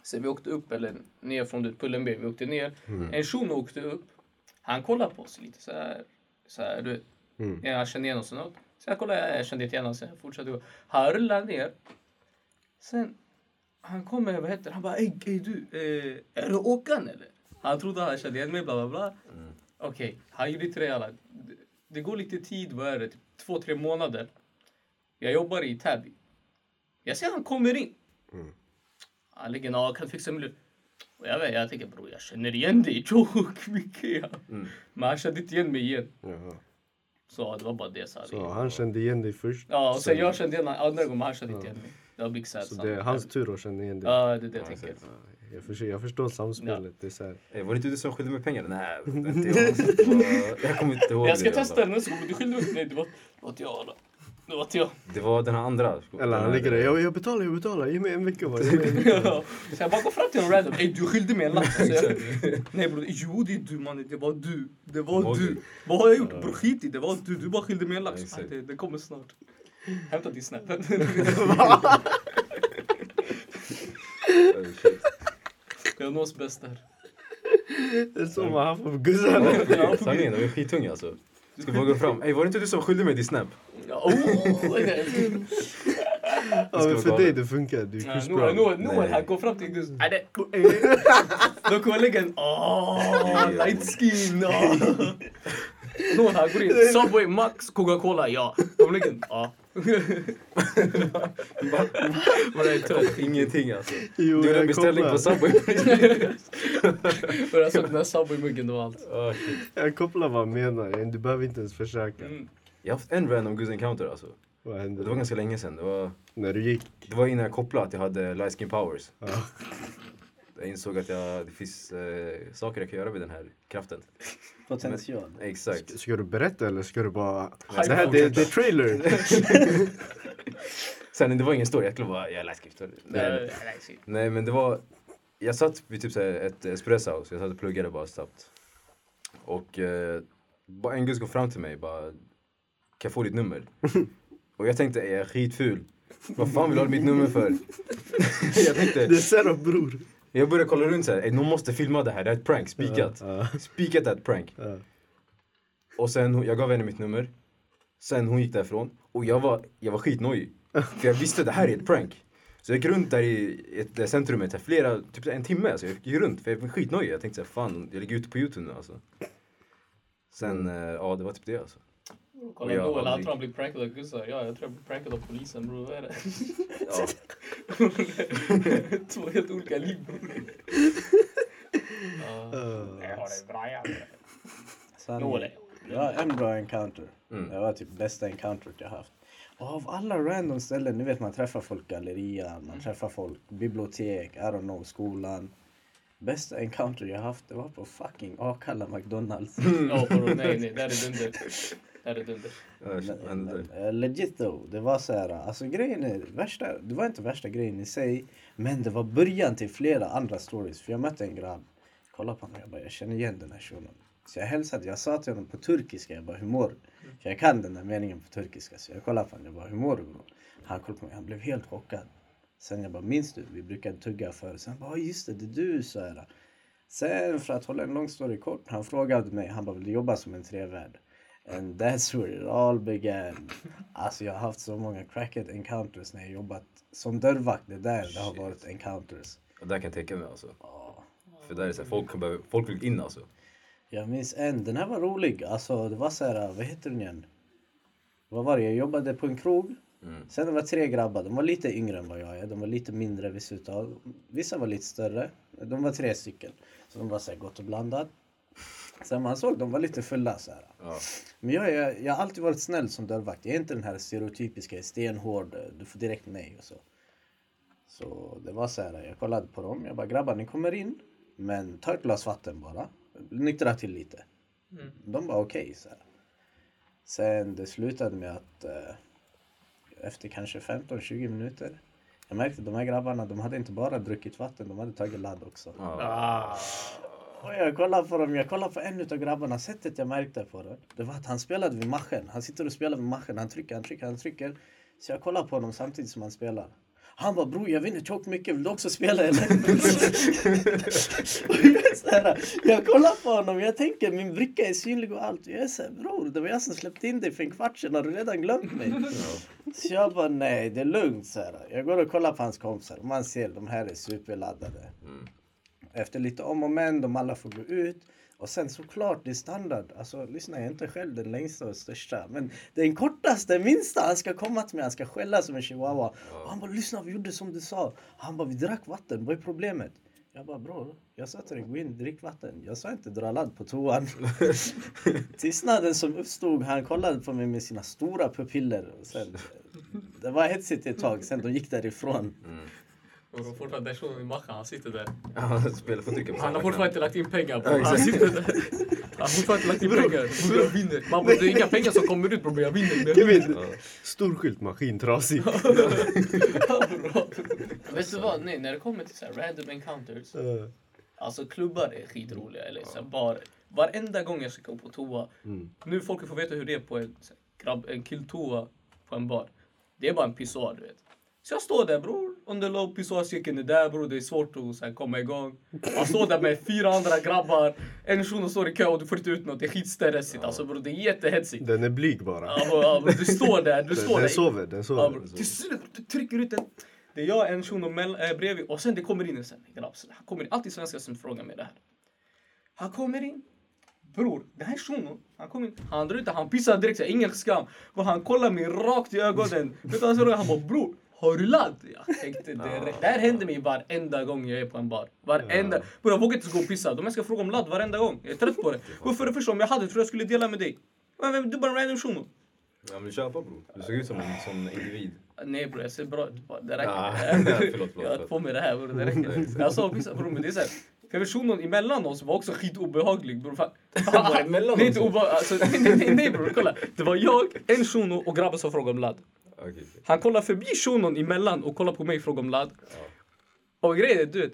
Speaker 3: Så vi åkte upp, eller ner från det Pullenberg, vi åkte ner. En shuno åkte upp. Han kollade på oss lite så här, så här du vet.
Speaker 1: Mm.
Speaker 3: Ja, Jag kände igen oss. och något. Så jag kollade, ja, jag kände inte igen honom. Så jag fortsatte gå. Han rullade ner. Sen, han kom med, vad heter det? han? bara, ey, ey du, eh, är det Håkan eller? Han trodde han kände igen mig, bla bla bla. Okej, han gjorde inte det alla. Det- Det går lite tid, vad är det? Typ två, tre månader. Jag jobbar i Täby. Jag ser han kommer in.
Speaker 1: Mm.
Speaker 3: Han lägger en "Ja, kan du fixa miljö. Och jag vet, jag tänker bror, jag känner igen dig. Tjock, (laughs) mycket ja.
Speaker 1: Mm.
Speaker 3: Men han kände inte igen mig igen.
Speaker 1: Jaha.
Speaker 3: Så det var bara det. Så här,
Speaker 1: Så han kände igen dig först.
Speaker 3: Ja, och sen jag kände igen honom andra gången, men han kände inte igen mig. Det var Big Sad.
Speaker 1: Så
Speaker 3: sant.
Speaker 1: det är hans tur att känna igen dig.
Speaker 3: Ja, det är det jag tänker.
Speaker 1: Jag förstår, jag förstår samspelet. Det är så här.
Speaker 2: Ey, Eh, var det inte du som skyllde mig pengar?
Speaker 3: (laughs)
Speaker 2: Nej, inte jag. Jag kommer inte ihåg
Speaker 3: Jag ska
Speaker 2: det,
Speaker 1: alltså.
Speaker 2: alltså.
Speaker 3: testa den nästa gång, men du skyllde mig. Nej, det var, det var inte jag. Alla. Det var inte jag.
Speaker 2: Det var den här andra.
Speaker 1: Eller han ligger där. Jag, jag betalar, jag betalar. Ge mig en vecka bara. Ge mig en vecka.
Speaker 3: Så jag bara går fram till en random. Ey, du skyllde mig en lapp. Så jag, nej bror, jo det är du mannen. Det var du. Det var
Speaker 2: Var
Speaker 3: du.
Speaker 2: det?
Speaker 3: Vad har jag gjort? Bror skit i det. Det var du. Du bara skyllde mig en lapp.
Speaker 2: Ja,
Speaker 3: Så,
Speaker 2: exakt.
Speaker 3: Det, det kommer snart. Hämta din snap. (laughs)
Speaker 2: Oh, shit.
Speaker 3: Jag nås bäst där.
Speaker 1: Det är så man har på gussarna.
Speaker 2: Ja, Sanningen, de är skittunga alltså. Ska bara gå fram. Ey, var det inte du som skyllde mig din snap?
Speaker 3: Ja, oh, nej.
Speaker 1: Ja, men
Speaker 2: vara
Speaker 1: för dig
Speaker 2: galet.
Speaker 1: det funkar. Du är Chris
Speaker 3: Noel,
Speaker 1: Brown.
Speaker 3: Noel, Noel,
Speaker 2: Nej.
Speaker 3: han går fram till Gus. Nej, det... Då kommer lägga en åh,
Speaker 2: Ja.
Speaker 3: light skin.
Speaker 2: (laughs)
Speaker 3: åh. Noel, han går in. Subway, Max, Coca-Cola, ja. Kommer lägga en
Speaker 2: (laughs)
Speaker 3: ja.
Speaker 2: Man är trött. Ingenting alltså.
Speaker 1: Jo,
Speaker 2: Du gjorde en
Speaker 1: jag
Speaker 2: beställning
Speaker 1: kopplar.
Speaker 2: på Subway. (laughs)
Speaker 3: Och jag såg den här Subway-muggen, det var allt.
Speaker 2: Ah, shit.
Speaker 1: Jag kopplar vad han menar. Du behöver inte ens försöka.
Speaker 3: Mm.
Speaker 2: jag har haft en random Goose Encounter alltså.
Speaker 1: Vad
Speaker 2: Det
Speaker 1: hände?
Speaker 2: var ganska länge sedan. Det var,
Speaker 1: När du gick?
Speaker 2: det var innan jag kopplade att jag hade light skin powers.
Speaker 1: Ja.
Speaker 2: Jag insåg att jag, det finns eh, saker jag kan göra med den här kraften.
Speaker 4: Potential.
Speaker 2: Exakt.
Speaker 1: Ska du berätta eller ska du bara...
Speaker 3: Hype
Speaker 1: Det här det, det är trailer!
Speaker 3: (laughs)
Speaker 2: Sen det var ingen story, jag skulle bara, jag är light skin. story. Nej,
Speaker 3: Nej, nej, shit.
Speaker 2: nej men det var, jag satt vid typ så här ett espresso house, jag satt och pluggade bara snabbt. Och eh, bara en gubbe kom fram till mig bara, kan jag få ditt nummer? och jag tänkte, är jag är skitful? Vad fan vill du ha mitt nummer för? jag tänkte,
Speaker 1: Det är setup bror!
Speaker 2: Jag började kolla runt såhär, "Ey, någon måste filma det här, det här är ett prank, spikat.
Speaker 1: Ja,
Speaker 2: Spikat det här är ett prank.
Speaker 1: ja.
Speaker 2: Och sen, hon- jag gav henne mitt nummer. Sen hon gick därifrån och jag var, jag var skitnojig. För jag visste det här är ett prank. Så jag gick runt där i ett, det centrumet här, flera, typ så här en timme. Alltså, jag gick runt för jag var skitnojig. Jag tänkte såhär, fan jag ligger ute på youtube nu alltså. Sen, eh, ja det var typ det alltså.
Speaker 3: Kolla
Speaker 2: Och jag
Speaker 3: Noel, han
Speaker 2: aldrig-
Speaker 3: tror han blir prankad av Gustav. Ja, jag tror jag blir prankad av polisen bror. Vad är det?
Speaker 2: Ja.
Speaker 3: (laughs) Två helt olika liv bror.
Speaker 2: (laughs)
Speaker 3: Ja. Jag har det bra jag.
Speaker 4: Sen,
Speaker 3: Noel.
Speaker 4: jag har en bra encounter.
Speaker 2: Mm.
Speaker 4: Det var typ bästa encounteret jag haft. Och av alla random ställen, ni vet man träffar folk gallerian, man träffar folk bibliotek, I don't know, skolan. Bästa encounter jag haft, det var på fucking Akalla McDonalds.
Speaker 3: Ja, bror, nej, nej, där är dunder. Där är dunder.
Speaker 2: Ja, shit, vad hände där?
Speaker 4: Eh, Legit though, det var så här, alltså grejen är, värsta, det var inte värsta grejen i sig, men det var början till flera andra stories. För jag mötte en grabb, kollade på honom, jag bara, jag känner igen den här shunon. Så jag hälsade, jag sa till honom på turkiska, jag bara, hur mår du? För jag kan den här meningen på turkiska, så jag kollade på honom, jag bara, hur mår du? bror?" Han kollade på mig, han blev helt chockad. Sen jag bara, minns du? Vi brukade tugga förr. Sen han bara, "Ja, just det, det är du, så här. Sen för att hålla en lång story kort, han frågade mig, han bara vill du jobba som en trevärd? And that's where it all began. Alltså jag har haft så många crackhead encounters när jag jobbat som dörrvakt. Det är där det har
Speaker 2: Shit.
Speaker 4: varit encounters.
Speaker 2: Ja, där kan jag tänka mig alltså.
Speaker 4: Ja.
Speaker 2: För där är såhär, folk, kan behöva- folk vill in alltså.
Speaker 4: Jag minns en, den här var rolig. Alltså det var så här, vad heter den igen? Vad var det? Jag jobbade på en krog.
Speaker 2: Mm.
Speaker 4: Sen det var tre grabbar, de var lite yngre än vad jag är. De var lite mindre vissa utav. Vissa var lite större. De var tre stycken. Så de var så här gott och blandat. Sen man såg de var lite fulla så här.
Speaker 2: Ja.
Speaker 4: Men jag, är, jag har alltid varit snäll som dörrvakt. Jag är inte den här stereotypiska stenhård, eh, du får direkt nej och så. Så det var så här, jag kollade på dem. Jag bara grabbar ni kommer in, men ta ett glas vatten bara. Nyktra till lite.
Speaker 3: Mm.
Speaker 4: De var okej. så här. Sen det slutade med att eh, efter kanske 15-20 minuter jag märkte att de här grabbarna, de hade inte bara druckit vatten, de hade tagit ladd också.
Speaker 2: Ja.
Speaker 3: Ah.
Speaker 4: Och jag kollade på dem, jag kollade på en utav grabbarna, sättet jag märkte på det, det var att han spelade vid maschen. Han sitter och spelar vid maschen, han trycker, han trycker, han trycker. Så jag kollar på honom samtidigt som han spelar. Han bara bror jag vinner tjockt mycket, vill du också spela eller? (laughs) Och jag, är så här, jag kollar på honom, jag tänker min bricka är synlig och allt. Jag är såhär bror, det var jag som släppte in dig för en kvart sedan, har du redan glömt mig? Så jag bara nej, det är lugnt. Så här. Jag går och kollar på hans kompisar, man ser de här är superladdade.
Speaker 2: Mm.
Speaker 4: Efter lite om och men, de alla får gå ut. Och sen såklart, det är standard. Alltså lyssna, jag är inte själv den längsta och största. Men den kortaste, minsta, han ska komma till mig, han ska skälla som en chihuahua. Och han bara, lyssna vi gjorde som du sa. Han bara, vi drack vatten, vad är problemet? Jag bara, bror, jag sa till dig, gå in, drick vatten. Jag sa inte dra ladd på
Speaker 3: (laughs)
Speaker 4: toan. Tystnaden som uppstod, han kollade på mig med sina stora pupiller. Och sen, det var hetsigt ett tag, sen de gick därifrån.
Speaker 3: Och de fortfarande, den shunon i maschen, han sitter där.
Speaker 2: (laughs) Han spelar för tycker på
Speaker 3: Han
Speaker 2: samma
Speaker 3: har fortfarande
Speaker 2: knapp.
Speaker 3: inte lagt in pengar. Bro.
Speaker 2: Ja,
Speaker 3: Han
Speaker 2: exakt.
Speaker 3: sitter där. Han har fortfarande inte lagt in pengar. Bror, jag vinner. Man bara, det är inga pengar som kommer ut bror, men jag vinner. Jag vinner.
Speaker 1: Kevin, stor skylt, maskintrasig.
Speaker 3: Vet du vad? Nej, när det kommer till så här random encounters.
Speaker 1: Eh,
Speaker 3: Alltså klubbar är skitroliga. Eller så här, bar. Varenda gång jag ska gå på toa.
Speaker 1: Mm.
Speaker 3: Nu folk får veta hur det är på en, så här, grabb, en killtoa på en bar. Det är bara en pissoar du vet. Så jag står där bror. Under low pissoarcirkeln är där bror. Det är svårt att så här, komma igång. Man står där med fyra andra grabbar. En shuno står i kö och du får inte ut något. Det är skitstressigt. Alltså bror det är jättehetsigt.
Speaker 1: Den är blyg bara.
Speaker 3: Ja, bror, ja, bror, du står där. Du
Speaker 1: Den,
Speaker 3: står
Speaker 1: den
Speaker 3: där.
Speaker 1: sover, den
Speaker 3: Ja,
Speaker 1: sover.
Speaker 3: bro. Till slut du trycker ut den. Det är jag, en shuno mell- eh, bredvid och sen det kommer in en sen, grabb. Så Han kommer in. Alltid svenskar som frågar mig det här. Han kommer in. Bror, den här shunon, han kommer in. Han drar ut den, han pissar direkt. Så här, ingen skam. Och han kollar mig rakt i ögonen. Vet du vad han säger? Han bara bror. Har du ladd? Jag tänkte direkt. Det här händer mig varenda gång jag är på en bar. Varenda. Bror jag vågar inte ens gå och pissa. De här ska fråga om ladd varenda gång. Jag är trött på det. Varför det första om jag hade tror jag skulle dela med dig. Men vem- Du är bara en random shuno.
Speaker 2: Ja men köpa bror. Du ser ut som en sån individ.
Speaker 3: Nej bror, jag ser bra ut. bara. Det
Speaker 2: Ah, (laughs) förlåt,
Speaker 3: räcker.
Speaker 2: förlåt, Mm.
Speaker 3: jag har
Speaker 2: förlåt.
Speaker 3: på mig det här bror, det räcker. Jag sa vissa bror, men det är såhär. Konversationen emellan oss var också skitobehaglig bror. Fan.
Speaker 2: (laughs) Var det mellan
Speaker 3: nej,
Speaker 2: oss?
Speaker 3: inte obe- alltså, nej, nej, nej, nej bror, kolla. Det var jag, en shuno och grabben som frågade om ladd.
Speaker 2: Okej.
Speaker 3: Han kollar förbi shunon emellan och kollar på mig och frågar om ladd. Och grejen är, du vet.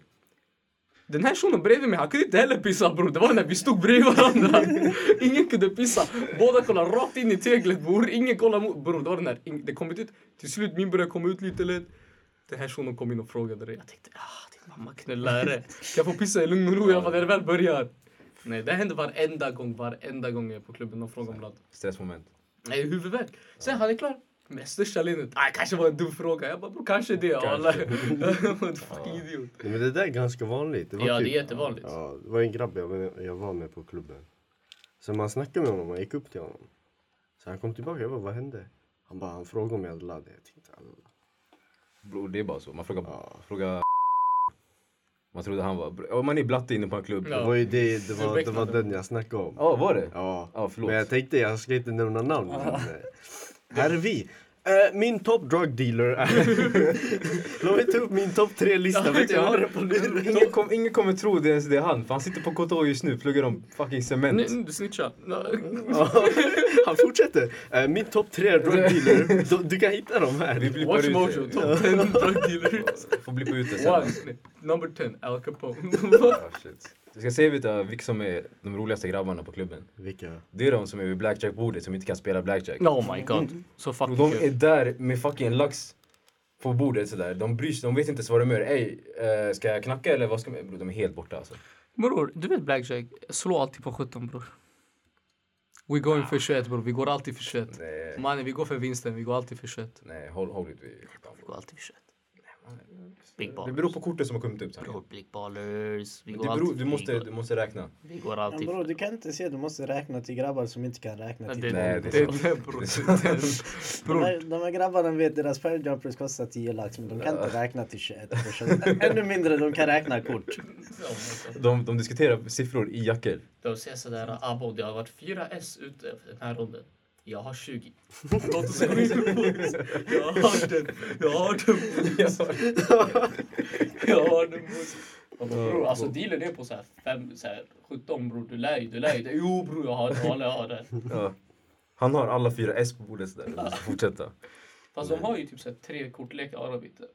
Speaker 3: Den här shunon bredvid mig, han kunde inte heller pissa bror. Det var när vi stod bredvid (laughs) varandra. Ingen kunde pissa. Båda kollade rakt in i teglet bror. Ingen kollade mot. Bror, det var den här. ing- Det kom inte ut. Till slut min började komma ut lite lätt. Den här shunon kom in och frågade det. Jag tänkte, ah din mamma knullare. Kan jag få pissa i lugn och ro? Jag bara, när det väl börjar. Nej, det händer varenda gång, varenda gång jag är på klubben och frågar om ladd.
Speaker 2: Stressmoment.
Speaker 3: Nej, huvudvärk. Sen han är klar. Med största leendet. Ah, kanske var en dum fråga. Jag bara, bror kanske det.
Speaker 2: Kanske.
Speaker 3: alla." (laughs) Jag var en fucking idiot.
Speaker 1: Nej, Men det där är ganska vanligt. Det var
Speaker 3: Ja, det är
Speaker 1: typ-
Speaker 3: jättevanligt.
Speaker 1: Ja, det var en grabb jag, var- jag var med på klubben. Så man snackade med honom, man gick upp till honom. Så han kom tillbaka, jag bara vad hände? Han bara, han frågade om jag hade ladd. Jag tänkte, "Alltså, "Alla."
Speaker 2: Bror det är bara så. Man frågar...
Speaker 1: Ja.
Speaker 2: frågar man trodde han var... Ja, man är blatte inne på en klubb.
Speaker 1: Det
Speaker 2: Ja,
Speaker 3: Ja.
Speaker 1: var ju det,
Speaker 3: (laughs)
Speaker 1: det, var, det var
Speaker 3: Becknade.
Speaker 1: den jag snackade om.
Speaker 2: var det?
Speaker 1: Ja,
Speaker 2: Ja, förlåt.
Speaker 1: men jag tänkte jag ska inte nämna namn. Men, eh, här är vi. Eh, min topp drug dealer är... Låt mig ta upp min topp tre-lista.
Speaker 3: Ja,
Speaker 1: Vet du, jag har den
Speaker 3: exakt.
Speaker 1: på nu.
Speaker 2: Ingen, kom, ingen kommer tro det ens det är han, för han sitter på KTH just nu, pluggar om fucking cement.
Speaker 3: Nu, nu, du snitchar.
Speaker 1: Ja, Han fortsätter. Eh, min topp tre är drug dealer. Du, du kan hitta dem
Speaker 2: Vi
Speaker 1: här.
Speaker 2: blippar
Speaker 3: Watch
Speaker 2: ut
Speaker 3: Mojo,
Speaker 2: det.
Speaker 3: top 10 drug dealer.
Speaker 2: Ja, Får blippa ut det sen.
Speaker 3: One, number 10, Al Capone.
Speaker 2: Ja, shit. Jag ska säga vilka, vilka som är de roligaste grabbarna på klubben.
Speaker 1: Vilka?
Speaker 2: Det är de som är vid blackjack-bordet som inte kan spela blackjack.
Speaker 3: (laughs) oh my god. Så
Speaker 2: Och
Speaker 3: fucking
Speaker 2: de är där med fucking lax på bordet sådär. De bryr sig, de vet inte ens vad de gör. Ey, eh, ska jag knacka eller vad ska man... Bro, de är helt borta alltså.
Speaker 3: Bror, du vet blackjack? Slå alltid på 17 bror. We going för 21 bror. Vi går alltid för 21.
Speaker 2: Nej.
Speaker 3: Mannen, vi går för vinsten. Vi går alltid för 21.
Speaker 2: Nej, håll, håll ut vid...
Speaker 3: Vi går alltid för 21. Big
Speaker 2: Det
Speaker 3: ball.
Speaker 2: beror på korten som har kommit upp. Sanne.
Speaker 3: Bror, Big Ballers. Vi
Speaker 2: Det
Speaker 3: går
Speaker 2: beror,
Speaker 3: alltid,
Speaker 2: du, måste, du måste räkna.
Speaker 3: vi går
Speaker 4: Men
Speaker 3: alltid.
Speaker 4: bror du kan inte se, du måste räkna till grabbar som inte kan räkna till
Speaker 3: det,
Speaker 2: Nej,
Speaker 3: Nej,
Speaker 2: det
Speaker 3: det,
Speaker 2: är
Speaker 3: det,
Speaker 2: sant.
Speaker 3: det, bror.
Speaker 2: Det är
Speaker 3: Det är
Speaker 4: De
Speaker 3: bror.
Speaker 4: här, de här grabbarna vet deras pair jumpers kostar 10 lax men de kan inte räkna till 21 personer. (laughs) Ännu mindre de kan räkna kort.
Speaker 2: De, de diskuterar siffror i jackor.
Speaker 3: (laughs) De säger sådär, abo det har varit fyra S ute för den här ronden. Jag har 20. Låt oss gå in på oss. Jag har den. Jag har den. boys. Jag har den. boys. Jag bara, bror, alltså dealen är på så här, fem, så här 17 bror, du lär ju, du lär ju. dig. Jo bror, jag har det, jag har det, jag har det.
Speaker 2: Ja. Han har alla fyra S på bordet sådär. Vi måste fortsätta.
Speaker 3: Fast de har ju typ så här, tre kortlekar arabiter.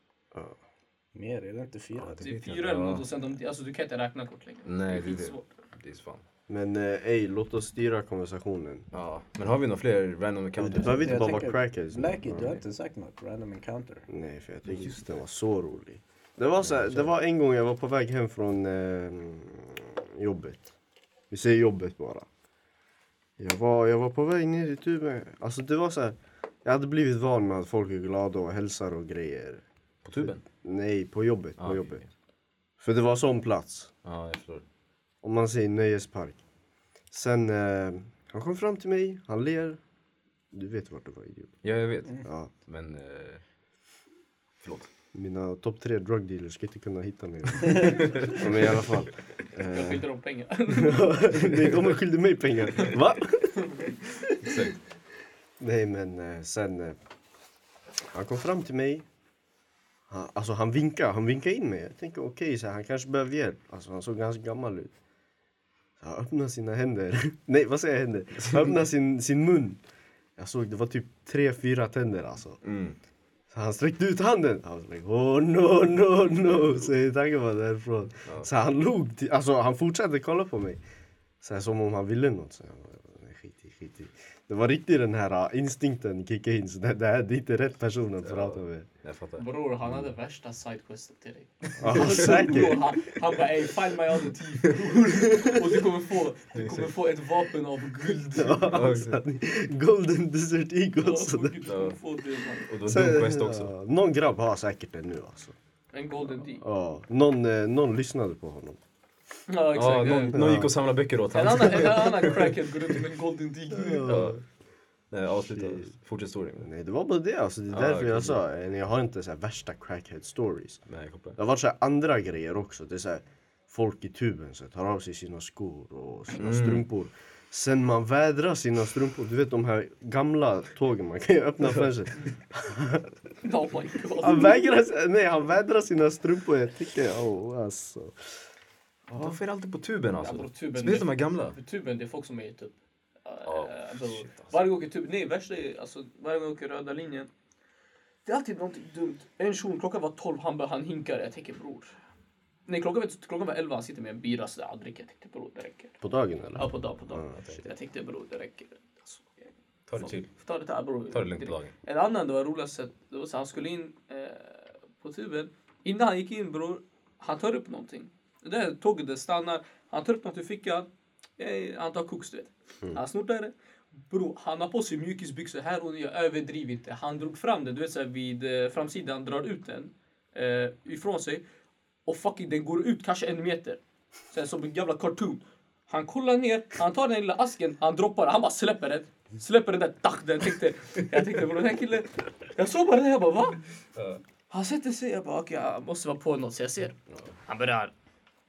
Speaker 4: Mer, är det inte fyra?
Speaker 2: det
Speaker 3: Det är
Speaker 2: vet jag
Speaker 3: fyra
Speaker 2: inte.
Speaker 3: eller något
Speaker 2: Ja. typ.
Speaker 3: och sen de, alltså du kan inte räkna kort längre.
Speaker 2: Nej, det är det.
Speaker 3: skitsvårt.
Speaker 2: Det är så fan.
Speaker 1: Men eh, ey, låt oss styra konversationen.
Speaker 2: Ja. Men har vi några fler random
Speaker 1: Du
Speaker 2: encounters?
Speaker 1: behöver inte
Speaker 4: Jag
Speaker 1: bara vara
Speaker 4: tänker-
Speaker 1: crackers.
Speaker 4: Blacky, du har
Speaker 2: Mm.
Speaker 4: inte sagt något random encounter.
Speaker 1: Nej, för jag tyckte inte den var så rolig. Det var, så här, det var en gång jag var på väg hem från eh, jobbet. Vi säger jobbet bara. Jag var, jag var på väg ner i tuben. Alltså det var så här, jag hade blivit van med att folk är glada och hälsar och grejer.
Speaker 2: På tuben?
Speaker 1: Nej, på jobbet, på
Speaker 2: Ah, okej,
Speaker 1: jobbet.
Speaker 2: okej.
Speaker 1: För det var sån plats.
Speaker 2: Ja, jag förstår.
Speaker 1: Om man säger nöjespark. Sen, eh, han kom fram till mig, han ler. Du vet vart det var, idiot.
Speaker 2: Ja, jag vet.
Speaker 3: Mm.
Speaker 1: Ja.
Speaker 2: Men... Eh, förlåt.
Speaker 1: Mina topp tre drug dealers ska inte kunna hitta mig. Men i alla fall.
Speaker 3: Jag
Speaker 1: Eh,
Speaker 3: skyllde dem pengar.
Speaker 1: nej, de skyllde mig pengar. Va?
Speaker 2: Exakt.
Speaker 1: Nej men eh, sen. Eh, han kom fram till mig. Han, alltså han vinkade, han vinkade in mig. Jag tänker okej, så här, han kanske behöver hjälp. Alltså han såg ganska gammal ut. Så han öppnade sina händer. (laughs) nej vad säger jag händer? Han öppnade sin, sin mun. Jag såg det var typ tre, fyra tänder alltså.
Speaker 2: Mm.
Speaker 1: Så han sträckte ut handen. Han var like, oh no, no, no. Så tanken var därifrån.
Speaker 2: Ja.
Speaker 1: Så han log, till, alltså han fortsatte kolla på mig. Så här, som om han ville något. Så jag bara, "Nej, skit i, skit i. Det var riktigt den här ah, instinkten kickade in. Så det, det här det är inte rätt person att
Speaker 2: Ja.
Speaker 1: prata med.
Speaker 2: Jag fattar.
Speaker 3: Bror, han hade värsta sidequestet till dig.
Speaker 1: Ja,
Speaker 2: (laughs)
Speaker 3: Bror,
Speaker 1: säkert.
Speaker 3: han, han bara ey, find my other teeth bror. Och du kommer få, du kommer få ett vapen av guld.
Speaker 1: Ja, alltså, golden Desert
Speaker 3: Ja,
Speaker 1: Eagle.
Speaker 2: alltså
Speaker 3: bror,
Speaker 1: sådär.
Speaker 3: du kommer få det, man.
Speaker 2: Och då dum quest också.
Speaker 1: Ja, någon grabb har säkert det nu alltså.
Speaker 3: En golden D.
Speaker 1: Ja, någon, eh, någon lyssnade på honom.
Speaker 3: Ja,
Speaker 2: Ja,
Speaker 3: exakt.
Speaker 2: någon, någon gick och samlade böcker åt
Speaker 3: En
Speaker 2: honom.
Speaker 3: annan, en annan crackhead går runt med en golden D.
Speaker 2: (laughs) Ja. Nej, avsluta. Fortsätt storyn.
Speaker 1: Nej, det var bara det. Alltså, det är
Speaker 2: Ja,
Speaker 1: därför
Speaker 2: okej.
Speaker 1: jag sa eh, jag har inte så här värsta crackhead stories.
Speaker 2: Nej, jag kopplar.
Speaker 1: Det har varit så här andra grejer också. Det är så här, folk i tuben så här, tar av sig sina skor och
Speaker 3: Mm.
Speaker 1: sina strumpor. Sen man vädrar sina strumpor, du vet de här gamla tågen, man kan ju öppna fönstret.
Speaker 3: Oh my
Speaker 1: Han
Speaker 3: god.
Speaker 1: vägrar, s- nej han vädrar sina strumpor, jag tycker, oh, alltså.
Speaker 2: Varför är det alltid på tuben alltså?
Speaker 3: Ja, på tuben.
Speaker 2: Speciellt de här gamla.
Speaker 3: På tuben, det är folk som är typ... eh,
Speaker 2: Ja,
Speaker 3: alltså,
Speaker 2: shit, alltså.
Speaker 3: Varje gång i tuben, nej värsta är alltså varje gång jag åker röda linjen. Det är alltid någonting dumt. En shuno, klockan var 12, han, bara- han hinkar. Jag tänker bror. Nej klockan var, klockan var 11, han sitter med en bira sådär, han dricker. Jag tänkte bror det räcker.
Speaker 1: På dagen eller?
Speaker 3: Ja på dag, på dag.
Speaker 1: Ja,
Speaker 3: Shit, jag tänkte bror det räcker. Alltså, jag-
Speaker 2: Mm, Ta det chill.
Speaker 3: Ta det där bror.
Speaker 2: Ta det lugnt på dagen.
Speaker 3: En annan det var roligast sätt, det var så han skulle in eh, på tuben. Innan han gick in bror, han tar upp någonting. Det här tåget det stannar, han tar upp något ur fickan. Eh, han tar koks du vet. Han snortar det. Bror, han har på sig mjukisbyxor här och jag överdriver inte. Han drog fram den, du vet så här, vid eh, framsidan, drar ut den eh, ifrån sig. Och fucking den går ut kanske en meter. Sen som en jävla cartoon. Han kollar ner, han tar den lilla asken, han droppar den, han bara släpper den. Släpper den där, tack den. Jag tänkte, jag tänkte bror den här killen. Jag såg bara den, jag bara va?
Speaker 2: Ja.
Speaker 3: Han sätter sig, jag bara okej jag måste vara på något så jag ser. Han börjar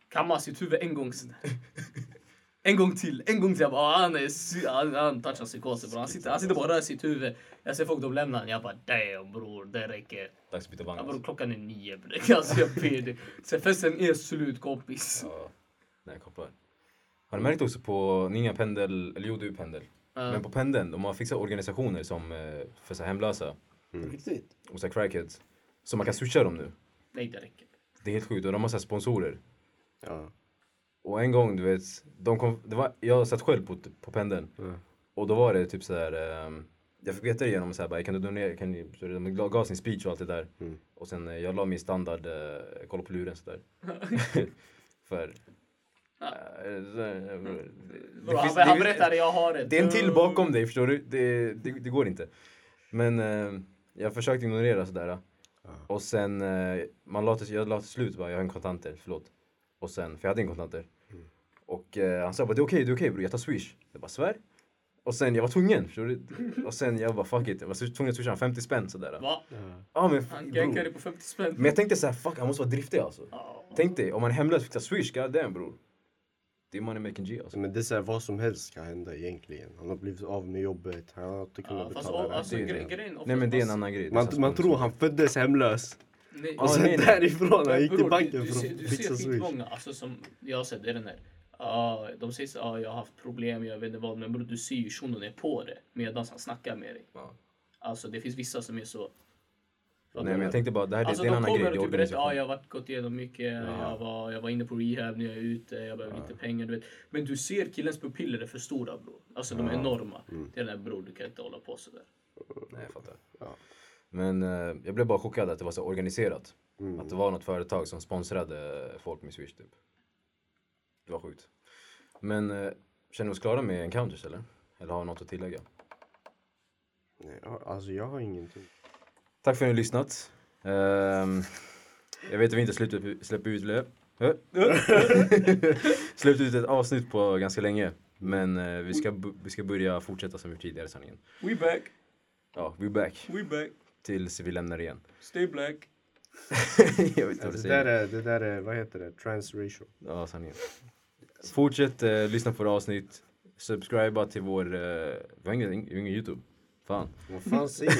Speaker 3: kamma sitt huvud en gång. sen. En gång till, en gång till. Jag bara, ah, han, är, sy- han, han touchar psykosen bror. Han sitter, han sitter bara och rör sitt huvud. Jag ser folk, de lämnar han. Jag bara damn bror, det räcker.
Speaker 2: Dags att byta vagn.
Speaker 3: Ja,
Speaker 2: alltså.
Speaker 3: bror, klockan är nio bre. (laughs) Alltså jag ber dig. Sen festen är slut kompis.
Speaker 2: alltså. Ja. Nej, jag kopplar. Har du märkt också på, ni har inga pendel, eller jo du är pendel.
Speaker 3: Ja.
Speaker 2: Men på pendeln, de har fixat organisationer som eh, för så här hemlösa
Speaker 4: Riktigt?
Speaker 2: och så här crackheads. Så man kan swisha dem nu.
Speaker 3: Nej det räcker.
Speaker 2: Det är helt sjukt och de har så här sponsorer.
Speaker 1: Ja.
Speaker 2: Och en gång, du vet, de kom, det var, jag satt själv på, på pendeln.
Speaker 3: Mm.
Speaker 2: Och då var det typ så här, ehm, jag fick veta det genom så här, bara, kan du donera, kan du, så de gav sin speech och allt det där.
Speaker 3: Mm.
Speaker 2: Och sen eh, jag la min standard, eh, kolla på luren så
Speaker 3: (laughs)
Speaker 2: där. (laughs) För... eh, så här, eh, det-
Speaker 3: Bror,
Speaker 2: det
Speaker 3: Mm. han,
Speaker 2: finns-
Speaker 3: han
Speaker 2: det-
Speaker 3: berättade jag har ett.
Speaker 2: Det är en till bakom dig, förstår du? Det, det, det går inte. Men eh, jag försökte ignorera sådär. Och sen, eh, man la till, jag la till slut bara, jag har en kontanter, förlåt. Och sen, för jag hade en kontanter. Och eh, han sa bara, det är okej, det är okej bror, jag tar swish. Jag bara, svär. Och sen, jag var tvungen, förstår du? Och sen, jag bara, fuck it. Jag var tvungen att swisha honom 50 spänn sådär.
Speaker 3: Va?
Speaker 2: Ja, men,
Speaker 3: Han gankar
Speaker 2: bror.
Speaker 3: dig på 50 spänn.
Speaker 2: men jag tänkte såhär, fuck, han måste vara driftig alltså.
Speaker 3: Ja.
Speaker 2: Tänk dig, om man är hemlös fixar swish, god damn bror. Det är money making G alltså.
Speaker 1: Men det är så här, vad som helst kan hända egentligen. Han har blivit av med jobbet, han har inte kunnat
Speaker 3: Ja, fast,
Speaker 1: betala
Speaker 3: å-
Speaker 1: räkningen.
Speaker 3: alltså,
Speaker 2: det är
Speaker 3: gre-
Speaker 2: det.
Speaker 3: grejen
Speaker 2: Nej men det är en annan grej. Det är så
Speaker 1: Man,
Speaker 2: här
Speaker 1: man tror han föddes hemlös.
Speaker 5: Nej.
Speaker 1: Och
Speaker 2: Ja,
Speaker 1: sen
Speaker 2: nej, nej.
Speaker 1: därifrån, han
Speaker 5: Men
Speaker 1: gick till
Speaker 5: bror,
Speaker 1: banken
Speaker 5: du, du,
Speaker 1: för
Speaker 5: ser-
Speaker 1: att
Speaker 5: Du ser
Speaker 1: fixa swish.
Speaker 5: skitmånga alltså, som jag har sett, det är den där. Ja, de säger så, ah, jag har haft problem, jag vet inte vad. Men bror, du ser ju shunon är på det medan han snackar med dig.
Speaker 2: Ja.
Speaker 5: Alltså det finns vissa som är så...
Speaker 2: Nej men jag tänkte bara, det här
Speaker 5: Alltså
Speaker 2: det är en
Speaker 5: de
Speaker 2: annan grej. Det
Speaker 5: kommer
Speaker 2: är
Speaker 5: och typ berättar, ja
Speaker 2: organisation.
Speaker 5: jag har varit, gått igenom mycket, jag, var, jag var inne på rehab, nu är jag ute, jag behöver lite pengar. Du vet. Men du ser killens pupiller är för stora bror. Alltså de är enorma.
Speaker 1: Mm.
Speaker 5: Det är den där bror, du kan inte hålla på sådär.
Speaker 2: Nej jag fattar.
Speaker 1: Ja.
Speaker 2: Men eh, jag blev bara chockad att det var så organiserat.
Speaker 5: Mm.
Speaker 2: Att det var något företag som sponsrade folk med Swish typ. Det var sjukt. Men eh, känner vi oss klara med encounters eller? Eller har vi något att tillägga?
Speaker 1: Nej, ja, alltså jag har ingenting.
Speaker 2: Tack för att ni har lyssnat. Ehm, jag vet att vi inte släppt, släpper ut... lö- Ö, ö. (laughs) släppt ut ett avsnitt på ganska länge. Men eh, vi, ska, bu- vi ska börja fortsätta som vi gjort tidigare i sanningen.
Speaker 3: We back,
Speaker 2: Ja, we're back.
Speaker 3: we back,
Speaker 2: Tills vi lämnar igen.
Speaker 3: stay black.
Speaker 2: (laughs) jag vet inte vad du
Speaker 1: Alltså, det,
Speaker 2: säger.
Speaker 1: där är, det där är, vad heter det, transracial.
Speaker 2: Ja, sanningen. Fortsätt eh, lyssna på våra avsnitt. Subscriba till vår... Eh, vi har ingen, ingen YouTube. Fan.
Speaker 1: Vad fan (laughs) säger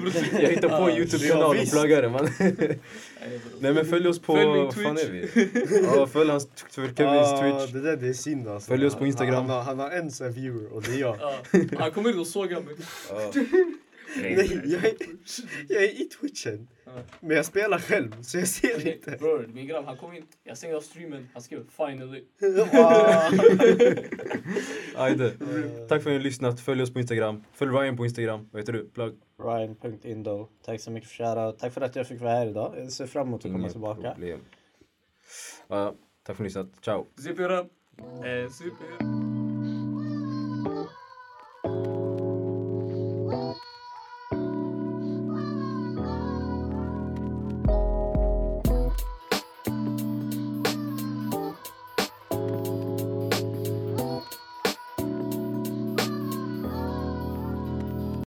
Speaker 1: du?
Speaker 2: (laughs) Jag hittar på en YouTube-kanal och
Speaker 1: visst.
Speaker 2: pluggar den. man.
Speaker 5: Nej, bror.
Speaker 2: (laughs) Nej men följ oss på...
Speaker 3: Följ min
Speaker 2: vad fan är vi? Ja, följ hans... Följ Kevins
Speaker 1: Ah,
Speaker 2: Twitch.
Speaker 1: Det där det är synd alltså.
Speaker 2: Följ oss på
Speaker 1: Han-
Speaker 2: Instagram.
Speaker 1: Han, har- han har en sån här viewer och det är (laughs) jag.
Speaker 5: Ja,
Speaker 2: (laughs)
Speaker 5: han kommer inte att såga mig.
Speaker 2: Ja.
Speaker 1: Nej, jag är, jag är i twitchen.
Speaker 5: Ja.
Speaker 1: Men jag spelar själv så jag ser (laughs) inte.
Speaker 5: Bror, min grabb han kom in, jag stängde av streamen, han skrev finally.
Speaker 1: Ah.
Speaker 2: Ajde. Tack för att ni har lyssnat. Följ oss på Instagram. Följ Ryan på Instagram. Vad heter du? Plugg.
Speaker 4: Ryan.indo. Tack så mycket för shoutout. Tack för att jag fick vara här idag. Jag ser fram emot att komma
Speaker 2: Inget
Speaker 4: tillbaka.
Speaker 2: problem. Ja, tack för att ni har lyssnat. Ciao.
Speaker 5: Eh,
Speaker 3: Zip it up and zip it up.